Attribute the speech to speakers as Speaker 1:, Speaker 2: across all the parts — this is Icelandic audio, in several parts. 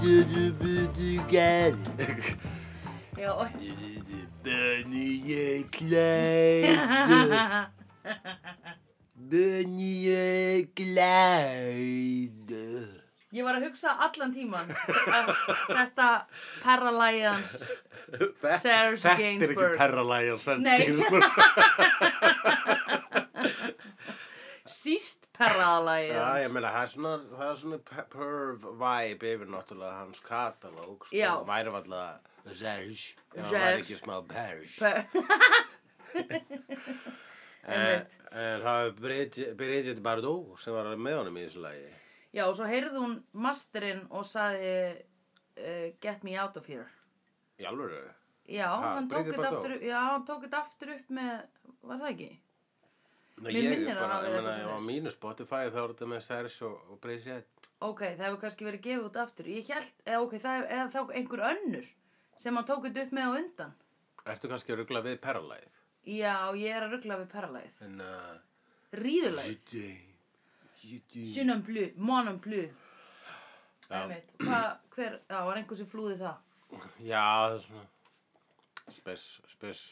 Speaker 1: durumu gel.
Speaker 2: Ya o...
Speaker 1: Beni yekleydi. Beni yekleydi.
Speaker 2: Ég var að hugsa allan tíman að þetta Paralyans Serge
Speaker 3: er ekki
Speaker 2: Gainsbourg.
Speaker 3: Paralyze Serge
Speaker 2: Nei.
Speaker 3: Gainsbourg
Speaker 2: síst
Speaker 1: Já,
Speaker 2: Paralyans
Speaker 1: ég meina, það er svona, það er svona pe- perv vibe yfir náttúrulega hans katalóg, sko,
Speaker 2: Já.
Speaker 1: væri alltaf Zerge, já, það
Speaker 2: Zerge.
Speaker 1: væri ekki smá Perge.
Speaker 2: Per-
Speaker 1: En,
Speaker 2: Einmitt.
Speaker 1: en Eh, það er Bridget, Bridget Bardot sem var með honum í þessu lagi.
Speaker 2: Já, og svo heyrði hún masterinn og saði uh, Get me out of here
Speaker 1: Í alvöru?
Speaker 2: Já,
Speaker 1: Ha,
Speaker 2: hann tók
Speaker 1: Bridget
Speaker 2: þetta
Speaker 1: Bardot?
Speaker 2: aftur, upp- já, hann tók þetta aftur upp með, var það ekki?
Speaker 1: Nei,
Speaker 2: Mér
Speaker 1: ég
Speaker 2: minnir að
Speaker 1: bara,
Speaker 2: það
Speaker 1: ég
Speaker 2: hafi
Speaker 1: meina,
Speaker 2: verið
Speaker 1: á
Speaker 2: svoleiðis.
Speaker 1: mínu Spotify þá er þetta með Serge og, og Bridget.
Speaker 2: Ok, það hefur kannski verið gefið út aftur Ég held, eða ok, það, eða þá einhver önnur sem hann tók þetta upp með á undan
Speaker 1: Ertu kannski að ruggla við Paralæð?
Speaker 2: Já, ég er að ruggla við Paralyze
Speaker 1: En, uh,
Speaker 2: Ríðulæð
Speaker 1: Jiddi, Jiddi.
Speaker 2: Sunnan blu, monan blu
Speaker 1: Já.
Speaker 2: Einmitt. Hva, hver, já, var einhver sem flúði það
Speaker 1: Já, það er svona spes, spes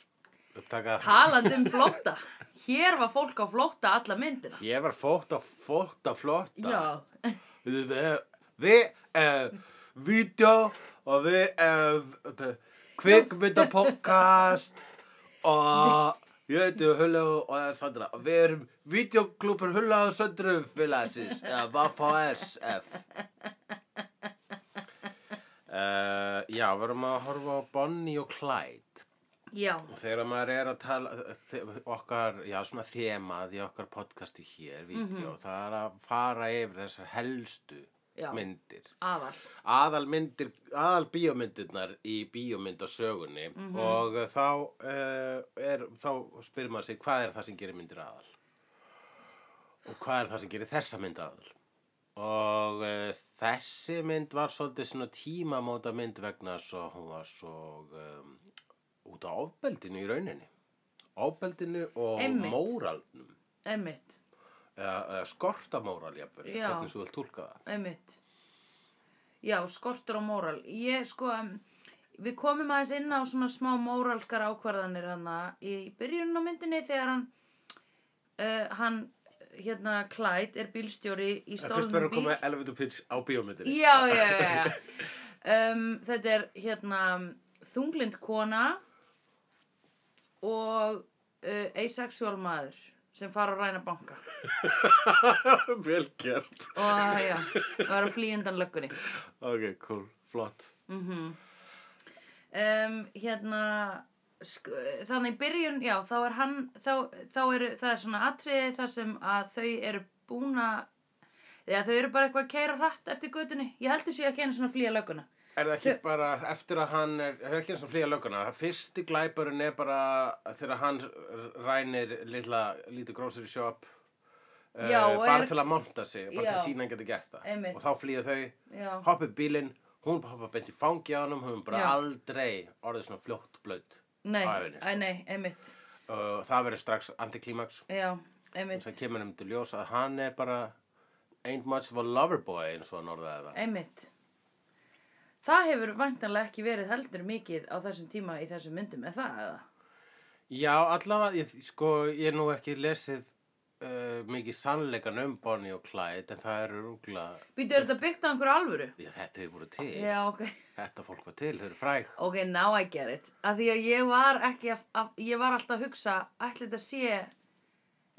Speaker 1: upptaka.
Speaker 2: Talandi um flótta Hér var fólk á flótta alla myndina
Speaker 1: Ég var fótt að fótt að flotta.
Speaker 2: Já,
Speaker 1: Við, við, uh, vídeo og við, uh, kvikmyndapodcast og ég heiti Hulla og Sandra. Og við erum videoklúpur Hulla og Sandra félagsins, eða VFHSF. Uh, já, við erum að horfa á Bonnie og Clyde.
Speaker 2: já,
Speaker 1: Og Þegar maður er að tala þe- okkar, já svona þemað í okkar podcasti hér, vídeo, það er að fara yfir þessar helstu
Speaker 2: já
Speaker 1: myndir.
Speaker 2: Aðal
Speaker 1: Aðal myndir, aðal bíómyndirnar í bíómyndasögunni
Speaker 2: Mhm.
Speaker 1: og uh, þá, uh, er, þá spyrir maður sig hvað er það sem gerir myndir aðal og hvað er það sem gerir þessa mynd aðal. Og uh, þessi mynd var svolítið svona tímamóta mynd vegna þess að hún var svo um, út á ofbeldinu í rauninni. Ofbeldinu og
Speaker 2: Einmitt.
Speaker 1: móralnum.
Speaker 2: Einmitt,
Speaker 1: Eða, eða skortamóral, jafnvel,
Speaker 2: Já.
Speaker 1: hvernig þú vil tólka það.
Speaker 2: einmitt Já, skortur og móral Ég sko, um, við komum aðeins inn á svona smá móralkar ákvarðanir hana í byrjunum á myndinni þegar hann uh, hann, hérna, Clyde er bílstjóri í
Speaker 1: En Fyrst
Speaker 2: stólnum
Speaker 1: verður að
Speaker 2: bíl
Speaker 1: koma elevator pitch á bíómyndinni.
Speaker 2: Já, já, já, já. Um, þetta er hérna þunglind kona og uh, asexual maður sem fara að ræna banka
Speaker 1: Vel gert.
Speaker 2: og já, og er að flýja undan löggunni.
Speaker 1: Ok, cool. Flott.
Speaker 2: Mm um, hérna, sk- þannig í byrjun, já, þá er hann, þá, þá eru, það er svona atriði þar sem að þau eru búin að, eða þau eru bara eitthvað að keira hratt eftir götunni. Ég heldur séu ekki einu svona að flýja lögguna.
Speaker 1: Er það ekki bara eftir að hann er, það er ekki eins og flýja lögguna, það fyrsti glæpurinn er bara þegar hann rænir litla, lítið grocery shop eh,
Speaker 2: Já, og
Speaker 1: bara
Speaker 2: er-
Speaker 1: til að monta sig, bara til
Speaker 2: Já.
Speaker 1: að sína hann getur gert það.
Speaker 2: Einmitt.
Speaker 1: Og þá flýja þau,
Speaker 2: Já.
Speaker 1: hoppa upp bílinn, hún hoppa beint í fangi á hann, hún bara
Speaker 2: Já.
Speaker 1: aldrei orðið svona fljótt blödd.
Speaker 2: Nei,
Speaker 1: á ævinni, sko.
Speaker 2: æ, nei, einmitt
Speaker 1: Og það verður strax antiklimaks.
Speaker 2: Já,
Speaker 1: Og
Speaker 2: einmitt,
Speaker 1: það kemur um til ljós að hann er bara ain't much of a lover boy eins og hann orðaði það.
Speaker 2: einmitt Það hefur væntanlega ekki verið heldur mikið á þessum tíma í þessum myndum, er það eða?
Speaker 1: Já, allavega, ég, sko, ég er nú ekki lesið uh, mikið sannleikan um Bonnie og Clyde, en það eru rúgla,
Speaker 2: Býtu, er þetta byggt á einhverju alvöru?
Speaker 1: já, þetta hefur voru til,
Speaker 2: Já, ok
Speaker 1: þetta fólk var til, þau eru fræg.
Speaker 2: Ok, now I get it Af því að ég var ekki að, að, Ég var alltaf að hugsa Ætli þetta sé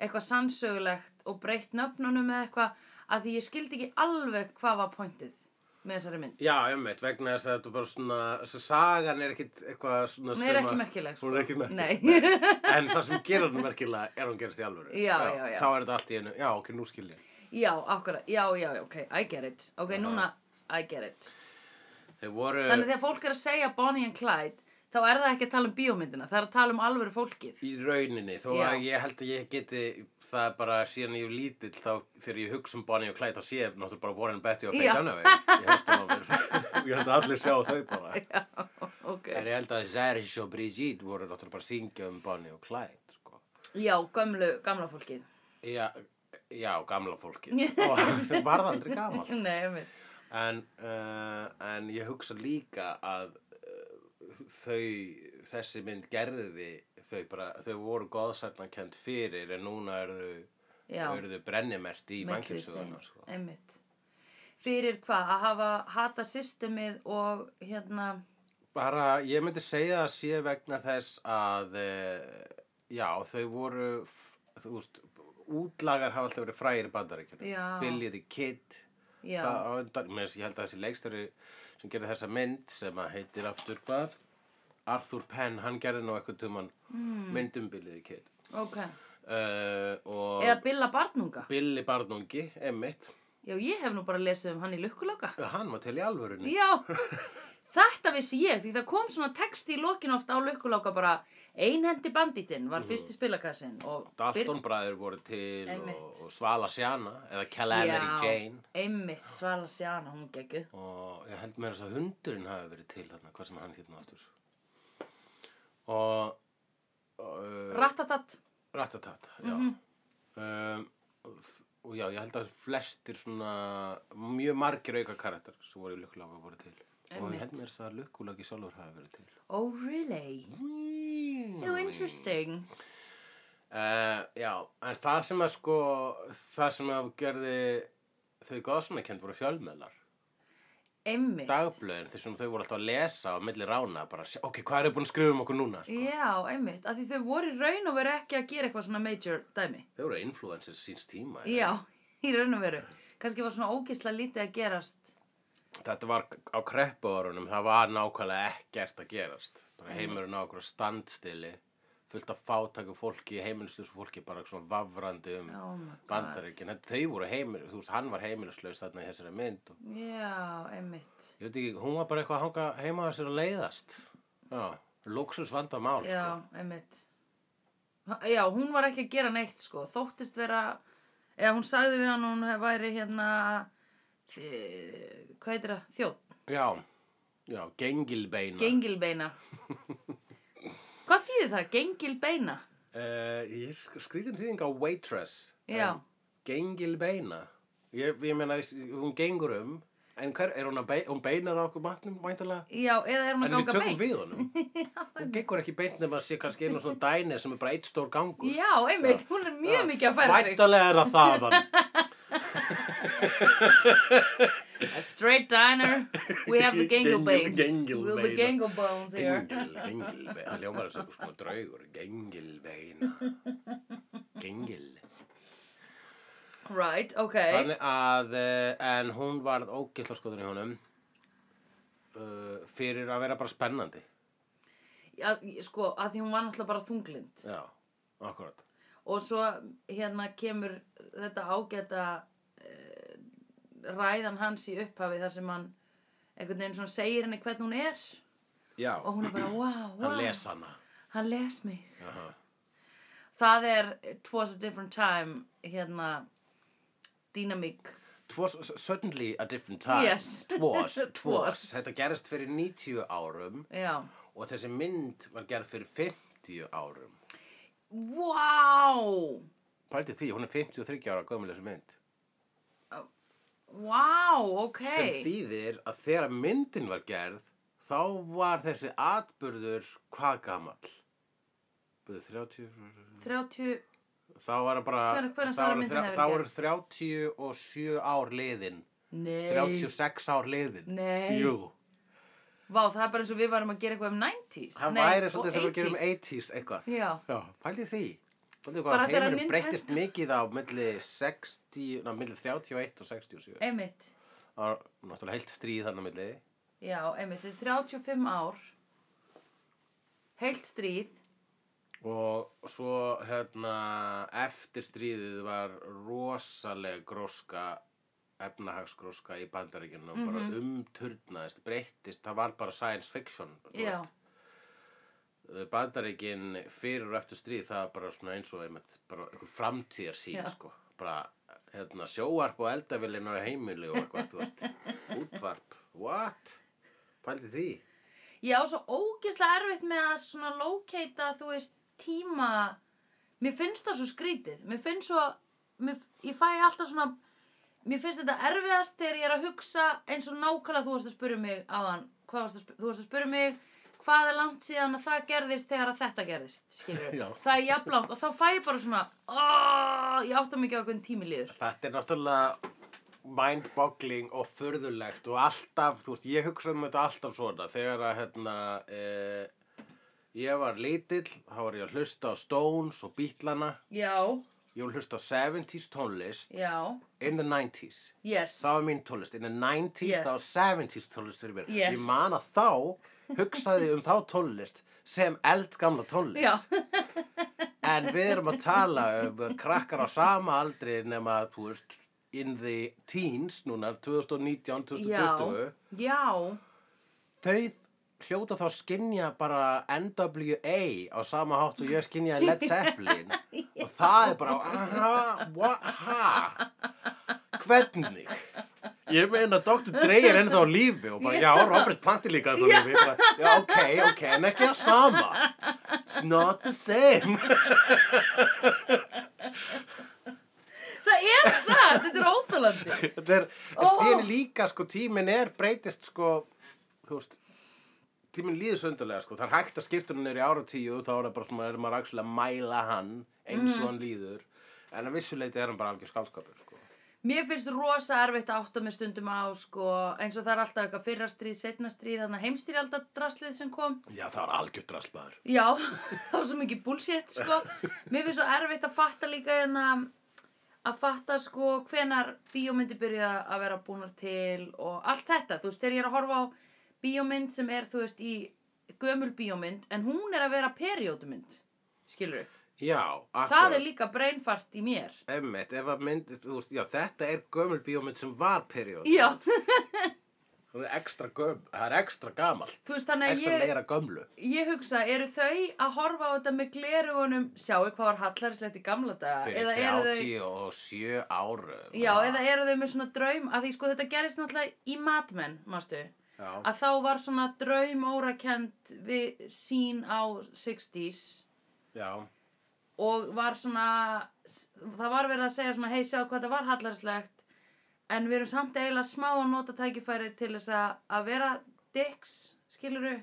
Speaker 2: eitthvað sannsögulegt og breytt nöfnunum eða eitthvað Af því ég skildi ekki alveg hvað var pointið með þessari mynd
Speaker 1: Já, einmitt, vegna þess að þetta er bara svona, þess að sagan er ekkit eitthvað svona
Speaker 2: Hún er
Speaker 1: sem
Speaker 2: ekki
Speaker 1: að-
Speaker 2: merkileg, sko.
Speaker 1: Hún er ekki
Speaker 2: Nei.
Speaker 1: merkileg, en það sem gerir hann merkilega er að hún gerist í alvöru.
Speaker 2: Já, já, já.
Speaker 1: Þá er þetta allt í einu, já, ok, nú skil ég.
Speaker 2: Já, akkurat, já, já, já, ok, I get it Ok, núna, I get it
Speaker 1: Þeir voru...
Speaker 2: Þannig þegar fólk er að segja Bonnie and Clyde þá er það ekki að tala um bíómyndina, það er að tala um alvöru fólkið.
Speaker 1: í rauninni þó
Speaker 2: Já.
Speaker 1: að ég held að ég geti það er bara síðan ég er lítill þá þegar ég hugsa um Bonnie og Clyde þá sé ég náttúrulega bara Warren Betty og
Speaker 2: Já.
Speaker 1: Faye Dunaway ég held að ég held að allir sjá þau bara
Speaker 2: Já, ok.
Speaker 1: en ég held að Serge og Brigitte voru náttúrulega bara að syngja um Bonnie og Clyde sko.
Speaker 2: Já, gömlu, gamla fólkið.
Speaker 1: já, já, gamla fólki og sem varð aldrei gamalt
Speaker 2: Nei, einmitt.
Speaker 1: en, uh, en ég hugsa líka að uh, þau, þessi mynd gerði þau, bara, þau voru goðsagnakend fyrir en núna eru
Speaker 2: já,
Speaker 1: eru þau brennimert í
Speaker 2: myndlistin,
Speaker 1: mannkynnsöðuna sko.
Speaker 2: einmitt fyrir hvað, að hafa hata systemið og hérna
Speaker 1: bara ég myndi segja að sé vegna þess að eh, já þau voru f- þú veist útlagar hafa alltaf verið frægir í
Speaker 2: Já.
Speaker 1: bandaríkjunum Billy the Kid
Speaker 2: já,
Speaker 1: það á undan, með, þess- ég held að þessi leikstöri sem gerði þessa mynd sem að heitir aftur hvað Arthur Penn, hann gerði nú eitthvað tuman mm. myndum Billy the Kid
Speaker 2: Hmm, ok
Speaker 1: uh, og
Speaker 2: eða Billa Barnunga
Speaker 1: Billy Barnungi, Emmitt
Speaker 2: já, ég hef nú bara lesið um hann í lukkuloka
Speaker 1: hann var til í alvörunni
Speaker 2: Já, þetta vissi ég því það kom svona texti í lokin oft á lukkuláka bara einhendi banditinn var fyrsti spilakassin og
Speaker 1: Mhm. Dalton bræður voru til og,
Speaker 2: Einmitt.
Speaker 1: og Svala Sjana eða Calamity
Speaker 2: Já.
Speaker 1: Jane
Speaker 2: einmitt Svala Sjana, hún geggu
Speaker 1: og ég held með þess að hundurinn hafi verið til þarna, hvað sem hann hérna aftur og uh,
Speaker 2: Rattatat, Mhm.
Speaker 1: Rattatat já um, og, þ- og já, ég held að flestir svona mjög margir auka karakter sem voru í lukkuláka voru til og
Speaker 2: Einmitt.
Speaker 1: ég held með þess að lukkuláki sjálfur hafi verið til
Speaker 2: oh really
Speaker 1: Mjög
Speaker 2: you interesting
Speaker 1: Uh, já, en það sem að sko, það sem að gerði þau góðsumekend voru fjölmiðlar.
Speaker 2: einmitt
Speaker 1: Dagblöðin, þessum þau voru alltaf að lesa á milli rána, bara, sjá, ok, hvað eru búin að skrifa um okkur núna? Sko?
Speaker 2: Já, einmitt, af því þau voru í raun og veru ekki að gera eitthvað svona major dæmi
Speaker 1: Þau voru influencers síns tíma. ekki?
Speaker 2: Já, í raun og veru kannski var svona ógisla lítið að gerast
Speaker 1: Þetta var á kreppuárunum, það var nákvæmlega ekkert að gerast. Bara heimurinn á okkur standstili, fullt af fátæku fólki, heimilislausu fólki, bara svona vavrandi um
Speaker 2: Oh my god
Speaker 1: bandaríkin. Þau voru heimil, þú veist, hann var heimilislaus þarna í þessari mynd og
Speaker 2: Já, einmitt
Speaker 1: Ég veit ekki, hún var bara eitthvað að hanga heima að sér að leiðast. Já, sko. luxus vandamál,
Speaker 2: Já, einmitt Já, hún var ekki að gera neitt sko Þóttist vera Eða hún sagði við hann að hún væri hérna þi- Hvað heitir það? Þjótt,
Speaker 1: sko. Já, já, gengilbeina.
Speaker 2: gengilbeina Hvað þýðir það? Gengilbeina
Speaker 1: Uh, ég sk- skrýtin þýðing á waitress.
Speaker 2: Já,
Speaker 1: En Gengilbeina. Ég, ég meina, hún gengur um, en hver, er hún að beina, hún beinar á okkur matnum, væntalega?
Speaker 2: já, eða er hún
Speaker 1: En við
Speaker 2: að ganga
Speaker 1: tökum
Speaker 2: beint
Speaker 1: við honum. hún gengur ekki beint nema að sé kannski einu svona dæni sem er bara eitt stór gangur.
Speaker 2: Já, einmitt, hún er mjög mikið að færa sig
Speaker 1: Væntalega er það þaðan.
Speaker 2: A straight diner, we have the
Speaker 1: Gengil-
Speaker 2: gengilbeins
Speaker 1: gengilbeina.
Speaker 2: We're the gengilbones here
Speaker 1: Gengil, gengilbeina. Það hljómar þess að svona draugur. Gengilbeina. Gengil.
Speaker 2: Right, ok
Speaker 1: Þannig að, eh, en hún varð ógillarskotur í honum uh, fyrir að vera bara spennandi.
Speaker 2: að, Sko, að því hún var náttúrulega bara þunglind
Speaker 1: Já, akkurat.
Speaker 2: og svo hérna kemur þetta ágæta uh, ræðan hans í upphafi þar sem hann einhvern veginn svona segir henni hvern hún er
Speaker 1: Já,
Speaker 2: og hún er bara wow, Oh, wow,
Speaker 1: hann les hana.
Speaker 2: hann les mig
Speaker 1: Aha.
Speaker 2: það er it was a different time hérna dynamík
Speaker 1: Twas suddenly a different time.
Speaker 2: Yes.
Speaker 1: Twas, twas.
Speaker 2: Twas.
Speaker 1: Þetta gerist fyrir 90 árum
Speaker 2: já
Speaker 1: og þessi mynd var gerð fyrir 50 árum.
Speaker 2: wow
Speaker 1: Pældi því, hún er 53 ára gömuleg þessi mynd.
Speaker 2: wow, ok
Speaker 1: sem þýðir að þegar myndin var gerð þá var þessi atburður hvað gamall Byrðu, 30
Speaker 2: 30
Speaker 1: þá var hann bara
Speaker 2: Hvenær- hvenær
Speaker 1: þá
Speaker 2: sagði
Speaker 1: voru
Speaker 2: myndin
Speaker 1: þrjá-
Speaker 2: hafi verið
Speaker 1: þá
Speaker 2: gerð?
Speaker 1: voru 37 ár liðin
Speaker 2: nei
Speaker 1: 36 ár liðin
Speaker 2: Nei.
Speaker 1: Jú,
Speaker 2: vá, það er bara eins og við varum að gera eitthvað um 90s
Speaker 1: það
Speaker 2: Nei,
Speaker 1: væri
Speaker 2: og
Speaker 1: svolítið sem við gerum
Speaker 2: 80s.
Speaker 1: 80s eitthvað
Speaker 2: já,
Speaker 1: Já, pældi því Pældi
Speaker 2: Bara
Speaker 1: hvað
Speaker 2: þegar
Speaker 1: heimurinn
Speaker 2: Nintendo-
Speaker 1: breyttist mikið á milli 60, ná, milli 31 og 67
Speaker 2: einmitt
Speaker 1: Það var náttúrulega heilt stríð þannig milli
Speaker 2: Já, einmitt, þetta er 35 ár Heilt stríð
Speaker 1: Og svo hérna eftir stríðið var rosaleg gróska, efnahagsgróska í bandaríkjunum og
Speaker 2: Mhm.
Speaker 1: bara umturnaðist, breyttist, það var bara science fiction. þú
Speaker 2: Já.
Speaker 1: veist. Eh, Bandaríkin fyrir og eftir stríð það var bara svona eins og einmitt, bara einhver framtíðarsýn
Speaker 2: Já.
Speaker 1: sko. Bara hérna sjóarp og eldavillin á heimili og eitthvað, þú veist, útvarp, what? Pældi því?
Speaker 2: Ég á svo ógeðslega erfitt með að svona locata, þú veist, tíma Mér finnst það svo skrítið Mér finnst svo, mér, ég fæ alltaf svona mér finnst þetta erfiðast þegar ég er að hugsa eins og nákvæmlega þú varst að spyrja mig aðan, hvað varst að, sp- þú varst að spyrja mig hvað er langt síðan að það gerðist þegar að þetta gerðist, skilur
Speaker 1: Já.
Speaker 2: það er jafnlangt og þá fæ ég bara svona "Ah", ég átta mig ekki á hvernig tími líður
Speaker 1: Þetta er náttúrulega mind-boggling og förðulegt og alltaf, þú veist, ég hugsa um þetta alltaf svona þegar að, hérna, eh, ég var lítill, þá var ég að hlusta á Stones og Beatlana,
Speaker 2: já,
Speaker 1: ég var að hlusta á 70s tónlist
Speaker 2: já,
Speaker 1: in the 90s.
Speaker 2: yes
Speaker 1: Það var mín tónlist, in the 90s,
Speaker 2: Yes.
Speaker 1: það var 70s tónlist fyrir mér. Ég
Speaker 2: Yes.
Speaker 1: man að þá hugsaði ég um þá tónlist sem eldgamla tónlist.
Speaker 2: já,
Speaker 1: En við erum að tala um krakkar á sama aldri nema, þú veist, in the teens núna, 2019, 2020.
Speaker 2: já,
Speaker 1: Þau hljóta þá skinja bara NWA á sama hátt og ég skinja Led Zeppelin. og það er bara, aha, wha, ha, hvernig? Ég meina, Dr. Dre er ennþá á lífi og bara, já, Robert Plant er líka ennþá á lífi. Ég bara, Já, ok, ok, en ekki það sama. It's not the same.
Speaker 2: það er satt þetta er óþálandi
Speaker 1: Þetta er, en
Speaker 2: Ó.
Speaker 1: síðan er líka sko tíminn er breytist sko, þú veist, tíminn líður söndulega sko, það er hægt að skipta hann niður í áratíu og þá er það bara svona, er maður actually að mæla hann eins
Speaker 2: Mhm.
Speaker 1: og hann líður, en að vissuleiti er hann bara algjör skálskapur sko.
Speaker 2: Mér finnst rosa erfitt að átta mig stundum á sko, eins og það er alltaf eitthvað fyrra stríð, setna stríð, þannig að heimstýri alltaf draslið sem kom.
Speaker 1: Já, það er algjör drastmaður.
Speaker 2: Já, það var svo mikið bullshit sko. Mér finnst svo erfitt að fatta líka en að, að fatta sko hvenar bíómyndi byrja að vera búnar til og allt þetta. Þú veist, þegar ég er að horfa á bíómynd sem er, þú veist, í gömul bíómynd, en hún er að vera periódumynd, skilur við.
Speaker 1: Já, akkurat.
Speaker 2: Það er líka brainfart í mér.
Speaker 1: Emmett, ef að myndi, þú veist, já, þetta er gömul bíómynd sem var periód.
Speaker 2: Já,
Speaker 1: Það er ekstra gömul, það er ekstra gamalt.
Speaker 2: þú veist, þannig að
Speaker 1: Ekstra
Speaker 2: ég...
Speaker 1: meira gömlu.
Speaker 2: Ég hugsa, eru þau að horfa á þetta með glerugunum, sjáu hvað var hallarinslegt í gamla daga?
Speaker 1: Fyrir
Speaker 2: eru
Speaker 1: 37 árum.
Speaker 2: já, eða eru þau með svona draum, að því sko þetta gerist náttúrulega í matmenn, mástu?
Speaker 1: Já.
Speaker 2: Að þá var svona draum órakend við sín á 60s
Speaker 1: Já,
Speaker 2: og var svona, það var verið að segja svona, hei, sjáu hvað þetta var hallarinslegt, en við erum samt eiginlega smá að nota tækifæri til þess að, að vera dicks, skiluru?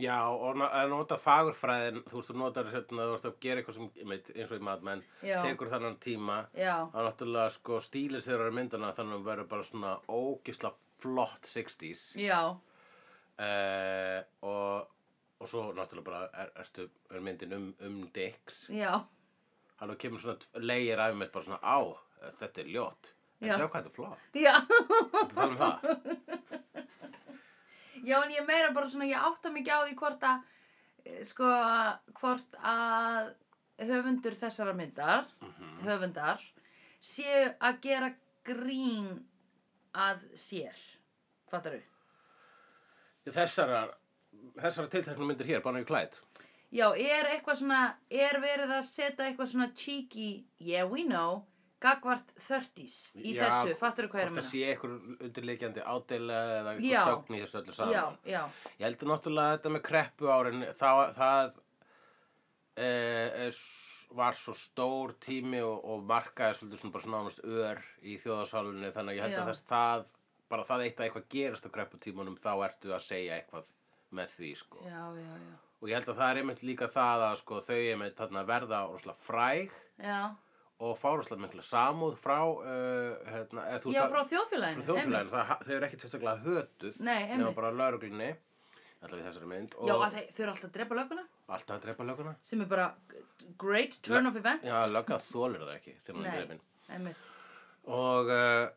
Speaker 1: já og no- að nota fagurfræðin, þú veist, þú notar hérna, þú veist að gera eitthvað sem, ég veit, eins og í matmenn,
Speaker 2: Já.
Speaker 1: tekur þannan tíma,
Speaker 2: Já,
Speaker 1: þá náttúrulega sko stílir sér að myndana þannig að verður bara svona ógisla flott 60s
Speaker 2: já,
Speaker 1: uh, og, og svo náttúrulega bara er, ertu, er myndin um, um dicks,
Speaker 2: já,
Speaker 1: hann kemur svona leigir af mér bara svona á, þetta er ljótt, en
Speaker 2: Já.
Speaker 1: sjá hvað þetta er flott,
Speaker 2: já.
Speaker 1: þetta er þannig það.
Speaker 2: Já, en ég meira bara svona, ég átta mikið á því hvort að, eh, sko, hvort að höfundur þessara myndar,
Speaker 1: Mhm.
Speaker 2: höfundar, séu að gera grín að sér, fattar við?
Speaker 1: Þessara, þessara tiltekna myndir hér, bara í klæð.
Speaker 2: Já, er eitthvað svona, er verið að setja eitthvað svona cheeky, yeah we know, gagvart 30s í
Speaker 1: Já,
Speaker 2: þessu, fattar við hvað ég er
Speaker 1: Hvort það
Speaker 2: að minna?
Speaker 1: sé einhver undirleikjandi ádela eða
Speaker 2: Já.
Speaker 1: einhver sögn í þessu öllu saman.
Speaker 2: Já, já,
Speaker 1: Ég held að náttúrulega þetta með kreppu árin, það, það e, e, s- var svo stór tími og, og markaði svolítið svona bara svona nánast ör í þjóðasálunni þannig að ég held
Speaker 2: Já.
Speaker 1: að þess það, bara það eitt að eitthvað gerist á krepputímunum þá ertu að segja eitthvað með því sko.
Speaker 2: já, já, já,
Speaker 1: Og ég held að það er einmitt líka það að sko, þau einmitt þarna verða rosalega fræg
Speaker 2: já,
Speaker 1: og fá rosalega mikla samúð frá, uh, hérna, eða þú
Speaker 2: já,
Speaker 1: það-
Speaker 2: frá þjóðfélaginu,
Speaker 1: frá þjóðfélaginu,
Speaker 2: einmitt.
Speaker 1: það, þau eru ekkert sérstaklega hötuð
Speaker 2: Nei,
Speaker 1: nema
Speaker 2: einmitt.
Speaker 1: bara lauruglunni allavega í þessari mynd
Speaker 2: Já,
Speaker 1: og
Speaker 2: að þeir, þau eru alltaf að drepa löguna.
Speaker 1: alltaf að drepa löguna
Speaker 2: sem er bara great turn of events
Speaker 1: Já, löggan þólur það ekki þegar maður er
Speaker 2: Nei,
Speaker 1: drefin
Speaker 2: einmitt
Speaker 1: og uh,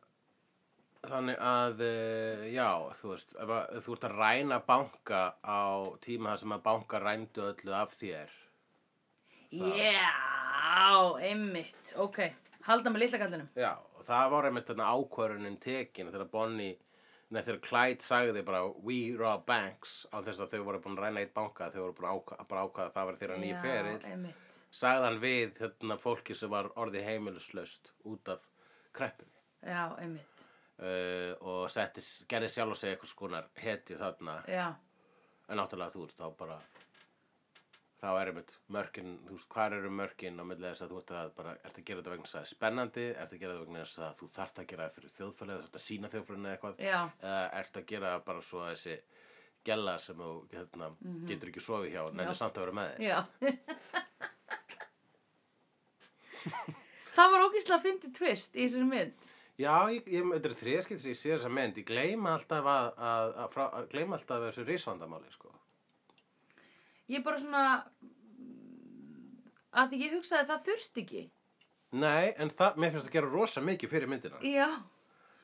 Speaker 1: þannig að uh, já, þú veist ef að, þú ert að ræna banka á tíma þar sem að banka rændu öllu af þér
Speaker 2: já, einmitt, ok halda með litla kallinum
Speaker 1: já, og það var einmitt þarna ákvörunin tekin þegar Bonnie Nei, þegar Clyde sagði bara We rob banks á þess að þau voru búin að ræna eitt banka þau voru búin að ákvaða, bara ákvaða að það var þeirra nýja ferill
Speaker 2: einmitt,
Speaker 1: sagði hann við hérna, fólki sem var orðið heimilislaust út af kreppunni
Speaker 2: já, einmitt
Speaker 1: uh, og setti, gerði sjálf og segja eitthvað skonar hetju þarna
Speaker 2: já,
Speaker 1: en náttúrulega þú veist þá bara þá er einmitt mörkin, þú veist, hvar eru mörkin á milli þess að þú ert að bara, ert að gera þetta vegna þess að það er spennandi, ert að gera þetta vegna þess að þú þart að gera það fyrir þjóðfélagið, þú ert að sína þjóðfélaginu eða eitthvað,
Speaker 2: já,
Speaker 1: eða ert að gera það bara svo að þessi gella sem þú hérna, getur ekki sofið hjá,
Speaker 2: Já.
Speaker 1: nefnir samt að vera með þér.
Speaker 2: já. það var ógeðslega fyndið twist í þessari mynd.
Speaker 1: Já, ég, ég, þetta er þriðskipt sem ég sé þessa mynd, ég gleyma alltaf að, að, að, frá, að gleyma alltaf þessu risvandamáli, sko.
Speaker 2: Ég bara svona, að því ég hugsaði að það þurfti ekki.
Speaker 1: Nei, en það, mér finnst það gera rosa mikið fyrir myndina.
Speaker 2: Já,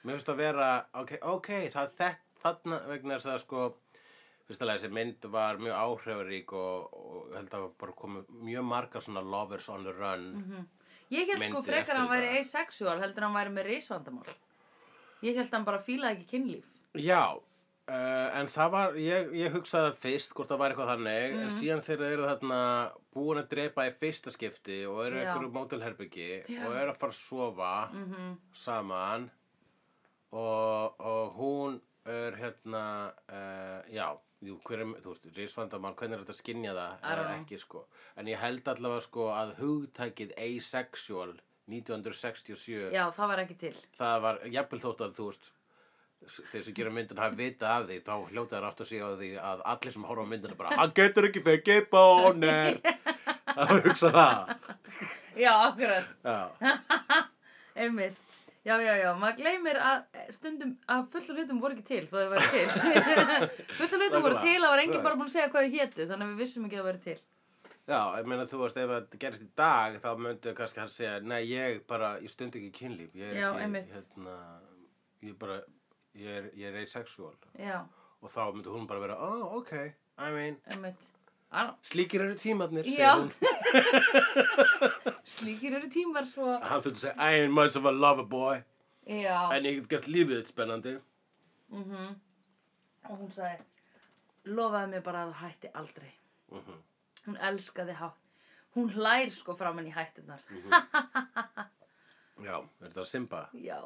Speaker 1: Mér finnst að vera, ok, ok, það þett, þarna vegna þess að sko, fyrst að þessi mynd var mjög áhrifarík og, og held að bara komið mjög margar svona lovers on the run.
Speaker 2: Mhm. ég held sko
Speaker 1: Myndir
Speaker 2: frekar að hann
Speaker 1: eftir
Speaker 2: væri
Speaker 1: þetta.
Speaker 2: asexual, heldur að hann væri með reisvandamál. Ég held að hann bara fílaði ekki kynlíf.
Speaker 1: Já, uh, en það var, ég, ég hugsaði fyrst hvort það var eitthvað þannig, en
Speaker 2: Mm.
Speaker 1: síðan þegar þeir eru þarna búin að drepa í fyrsta skipti og eru í
Speaker 2: Já.
Speaker 1: einhverju mótelherbyggi
Speaker 2: Já.
Speaker 1: og eru að fara að sofa
Speaker 2: Mm
Speaker 1: saman og, og hún er hérna uh, já, jú, hver er, þú veist, risvandamann hvernig er þetta að skynja það
Speaker 2: I don't
Speaker 1: eða
Speaker 2: know.
Speaker 1: ekki sko en ég held allavega sko að hugtækið asexual 1967
Speaker 2: Já, það var ekki til.
Speaker 1: það var jafnvel þótt að þú veist s- þeir sem gera myndin hafi vitað af því þá hljóta þær átt að segja á því að allir sem horfa á myndina bara hann getur ekki fekki bónir að hugsa það
Speaker 2: Já, akkurat.
Speaker 1: já
Speaker 2: Einmitt. Já, já, já, maður gleymir að stundum að fulla hlutum voru ekki til þó þau væri til. fulla hlutum voru
Speaker 1: Nákvæmlega,
Speaker 2: til, það var enginn
Speaker 1: þú
Speaker 2: bara
Speaker 1: veist.
Speaker 2: búin að segja hvað þau hétu, þannig að við vissum ekki að það væri til.
Speaker 1: Já, ég meina þú veist, ef þetta gerist í dag þá myndi kannski hann segja, nei, ég bara, ég stund ekki kynlíf, ég er
Speaker 2: Já,
Speaker 1: ekki,
Speaker 2: einmitt.
Speaker 1: hérna, ég bara, ég er, ég er asexual
Speaker 2: Já,
Speaker 1: og þá myndi hún bara vera, oh, ok, I mean,
Speaker 2: einmitt. Ar,
Speaker 1: slíkir eru tímarnir,
Speaker 2: Já.
Speaker 1: segir hún.
Speaker 2: slíkir eru tímar svo.
Speaker 1: Hann þurfti að segja, I ain't much of a lover boy,
Speaker 2: Já,
Speaker 1: en ég get gert lífið þitt spennandi.
Speaker 2: mhm. Og hún sagði, lofaði mér bara að það hætti aldrei.
Speaker 1: Mm -hmm.
Speaker 2: Hún elskaði hátt. Hún hlær sko framann í hættunar.
Speaker 1: Já, er þetta að simpa?
Speaker 2: Já.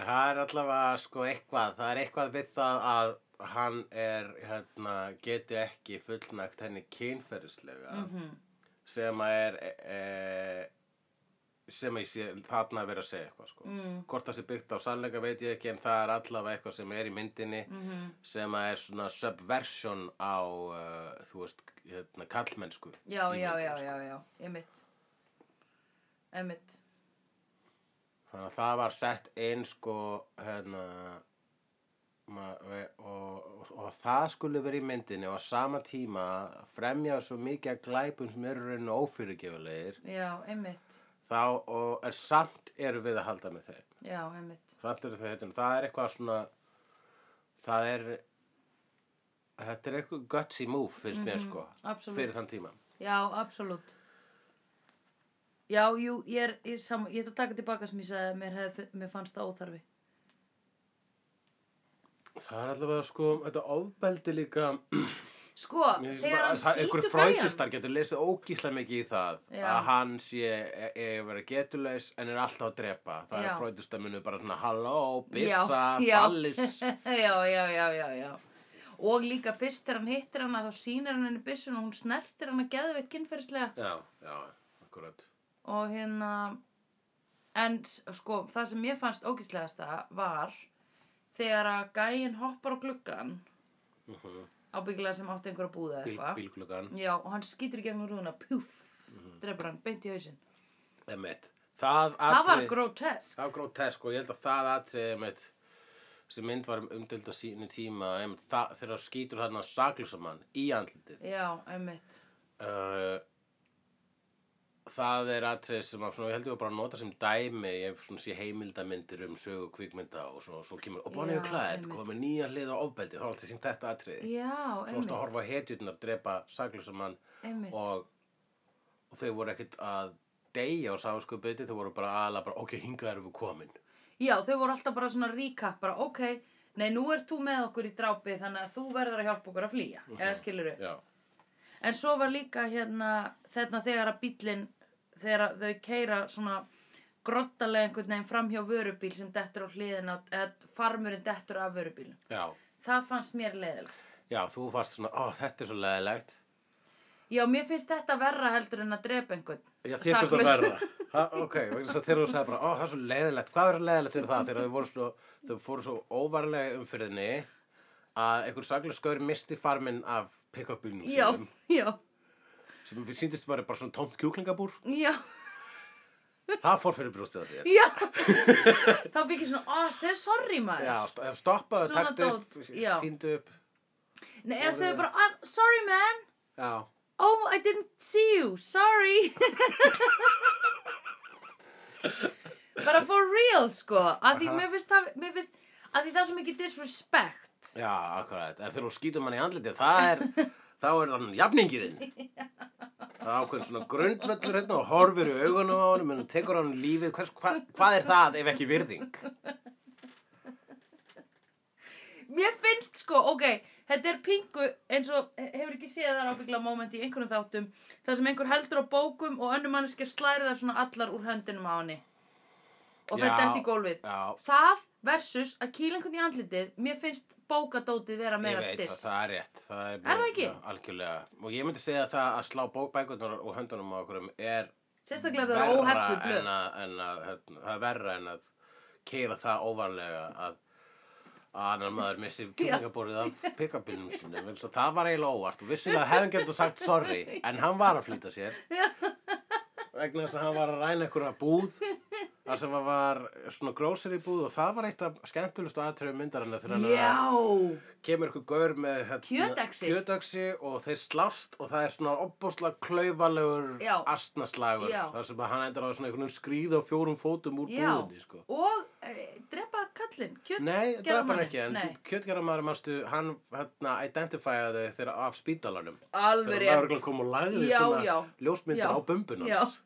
Speaker 1: En það er allavega sko eitthvað, það er eitthvað við það að hann er, hérna, geti ekki fullnægt henni kynferðislega
Speaker 2: Mhm.
Speaker 1: sem að er, e, sem að ég sé þarna að vera að segja eitthvað sko.
Speaker 2: Mm.
Speaker 1: Hvort það sé byggt á sannleika veit ég ekki en það er allavega eitthvað sem er í myndinni
Speaker 2: Mhm.
Speaker 1: sem að er svona subversion á, uh, þú veist, hérna, kallmennsku.
Speaker 2: Já,
Speaker 1: í
Speaker 2: já,
Speaker 1: myndinni,
Speaker 2: já,
Speaker 1: sko.
Speaker 2: já, já, einmitt. Einmitt.
Speaker 1: Þannig að það var sett inn sko hérna ma- ve- og, og, og það skulle verið í myndinni og á sama tíma fremja svo mikið að glæpum sem eru raun og ófyrirgefulegir
Speaker 2: Já, einmitt.
Speaker 1: þá og er samt eru við að halda með þeim
Speaker 2: Já, einmitt.
Speaker 1: samt eru þau hérna það er eitthvað svona það er þetta er eitthvað gutsy move finnst mér
Speaker 2: Mhm,
Speaker 1: sko
Speaker 2: absolutt.
Speaker 1: fyrir þann tíma
Speaker 2: Já, absolutt. Já, jú, ég er, ég, er sam, ég ætla að taka tilbaka sem ég sagði að mér, hef, mér fannst það óþarfi.
Speaker 1: það er allavega sko þetta ofbeldi líka
Speaker 2: Sko,
Speaker 1: Mér finnst
Speaker 2: þegar
Speaker 1: bara
Speaker 2: hann
Speaker 1: að það-
Speaker 2: skýtu
Speaker 1: einhver
Speaker 2: gæjan.
Speaker 1: freudistar getur lesið ógíslega mikið í það
Speaker 2: Já.
Speaker 1: að hann sé e- e- verið getulaus en er alltaf að drepa það
Speaker 2: Já.
Speaker 1: er freudistar munið bara svona halló, byssa,
Speaker 2: Já, já.
Speaker 1: fallis
Speaker 2: Eh, já, já, já, já, já. Og líka fyrst þegar hann hittir hana þá sýnir hann henni byssun og hún snertir hana geðveitt kynferðislega.
Speaker 1: já, já, akkurat
Speaker 2: Og hérna, en s- sko, það sem ég fannst ógíslegasta var þegar að gæjan hoppar á gluggan,
Speaker 1: uh -huh.
Speaker 2: ábyggilega sem átti einhverja búða eða
Speaker 1: Bíl, Mhm.
Speaker 2: eitthvað.
Speaker 1: bílklukkan
Speaker 2: Já, og hann skýtur í gegnum rúðuna, pjúf, drefur hann beint í hausinn.
Speaker 1: Emmett. það,
Speaker 2: Það var
Speaker 1: atriði-
Speaker 2: grotesk.
Speaker 1: það var grótesk og ég held að það atrið emitt, sem mynd var umdild á sínu tíma emitt, það, þegar það skýtur þarna saklusamann í andlitið
Speaker 2: Já, einmitt.
Speaker 1: Uh, það er atrið sem að svona, ég held ég var bara að nota sem dæmi ég svona sé heimildamindir um sögu kvikmynda og svo, svo kemur, og Bonnie
Speaker 2: Já,
Speaker 1: og Clyde
Speaker 2: einmitt.
Speaker 1: komið nýja hlið á ofbeldi þá er alltaf sínt þetta atrið
Speaker 2: Já,
Speaker 1: svo Eh, varst að
Speaker 2: einmitt.
Speaker 1: horfa á hetjurnar, drepa saklusamann
Speaker 2: Einmitt.
Speaker 1: og, og þau voru ekkert að deyja og sáskupið þau voru bara aðla bara, ok, hingað erum við komin
Speaker 2: Já, þau voru alltaf bara svona recap, bara ok, nei, nú ert þú með okkur í drápi þannig að þú verður að hjálpa okkur að flýja, eða
Speaker 1: Mhm.
Speaker 2: skilur við.
Speaker 1: já,
Speaker 2: En svo var líka hérna, þarna þegar að bíllinn, þegar að þau keira svona grottalega einhvern veginn framhjá vörubíl sem dettur á hliðina, eða farmurinn dettur af vörubílum.
Speaker 1: já,
Speaker 2: Það fannst mér leiðilegt.
Speaker 1: Já, þú varst svona, ó, þetta er svo leðilegt.
Speaker 2: Já, mér finnst þetta verra heldur en að drepa einhvern.
Speaker 1: Já, þér finnst það
Speaker 2: Saklaus.
Speaker 1: verða. Ha, ok, vegna þess að þegar þú sagði bara, ó, það er svo leiðilegt, hvað er leiðilegt fyrir það? Þegar þau voru svo, þau fóru svo óvarlega í umfyrðinni að einhver saglega skaur misti farminn af pick-up bílnum
Speaker 2: Já,
Speaker 1: sínum.
Speaker 2: já,
Speaker 1: Sem við síndist bara, bara svona tómt kjúklingabúr.
Speaker 2: já,
Speaker 1: Það fór fyrir brjóstið að þér.
Speaker 2: já. Þá fikk ég svona, ó, segð sorry maður.
Speaker 1: Já, st- ef stoppaðu,
Speaker 2: Svona
Speaker 1: taktu upp,
Speaker 2: dót, já.
Speaker 1: týndu upp.
Speaker 2: Nei, ég segði bara, ah, sorry man,
Speaker 1: Já,
Speaker 2: oh, I didn't see you, sorry. bara for real, sko, að því
Speaker 1: Aha.
Speaker 2: mér finnst það, mér finnst, að því það er svo mikið disrespect.
Speaker 1: já, akkurat. En þegar þú skýtum hann í andlitið, það er, þá er hann jafningiðinn. Það er ákveðin svona grundvöllur hérna og horfir í augunum á honum en tekur hann lífið. Hvers, hva, hvað er það ef ekki virðing?
Speaker 2: Mér finnst sko, ok, þetta er pingu eins og hefur ekki séð það ábyggla moment í einhverjum þáttum þar sem einhver heldur á bókum og önnum manneskja slæri það svona allar úr höndinum á henni og
Speaker 1: Já.
Speaker 2: þetta eftir í gólfið.
Speaker 1: Já,
Speaker 2: Það versus að kýla einhvern í andlitið, mér finnst bókadótið vera
Speaker 1: ég
Speaker 2: meira
Speaker 1: veit að
Speaker 2: diss.
Speaker 1: það er rétt. Það er,
Speaker 2: það ekki?
Speaker 1: Já, algjörlega. Og ég myndi segja að það að slá bókbækurnar og höndunum á okkurum er
Speaker 2: Sérstaklega ef það eru óheftu
Speaker 1: en að,
Speaker 2: blöð.
Speaker 1: en að hérna, það er verra en að keira það óvarlega að að annar maður missi kynningaborið af pick-upinum sinni. Vegna þess að Það var eiginlega óvart og vissulega hefði getur sagt sorry en hann var að flýta sér.
Speaker 2: Já.
Speaker 1: Vegna þess að hann var að ræna einhverja búð þar sem hann var svona grocery búð og það var eitt af skemmtulegustu aðtröfum myndarinnar þegar hann var að
Speaker 2: Já,
Speaker 1: kemur ykkur gaur með hérna,
Speaker 2: Kjötexi.
Speaker 1: kjötexi og þeir slást og það er svona opbúrslega klaufalegur
Speaker 2: Já.
Speaker 1: astnaslagur
Speaker 2: Já.
Speaker 1: þar sem að hann endur á svona einhvern veginn skríð á fjórum fótum úr
Speaker 2: Já.
Speaker 1: búðinni sko.
Speaker 2: og e, drepa kallinn, kjöt.
Speaker 1: Nei, draf hann
Speaker 2: Gerðamanninn,
Speaker 1: ekki en
Speaker 2: nei.
Speaker 1: kjötgerðamaður manstu hann hérna identifæði þau þegar af spítalanum
Speaker 2: Alveg
Speaker 1: þegar
Speaker 2: rétt.
Speaker 1: maður kom og lagði
Speaker 2: Já,
Speaker 1: svona
Speaker 2: já.
Speaker 1: ljósmyndir
Speaker 2: Já.
Speaker 1: á bumbun
Speaker 2: Já.
Speaker 1: hans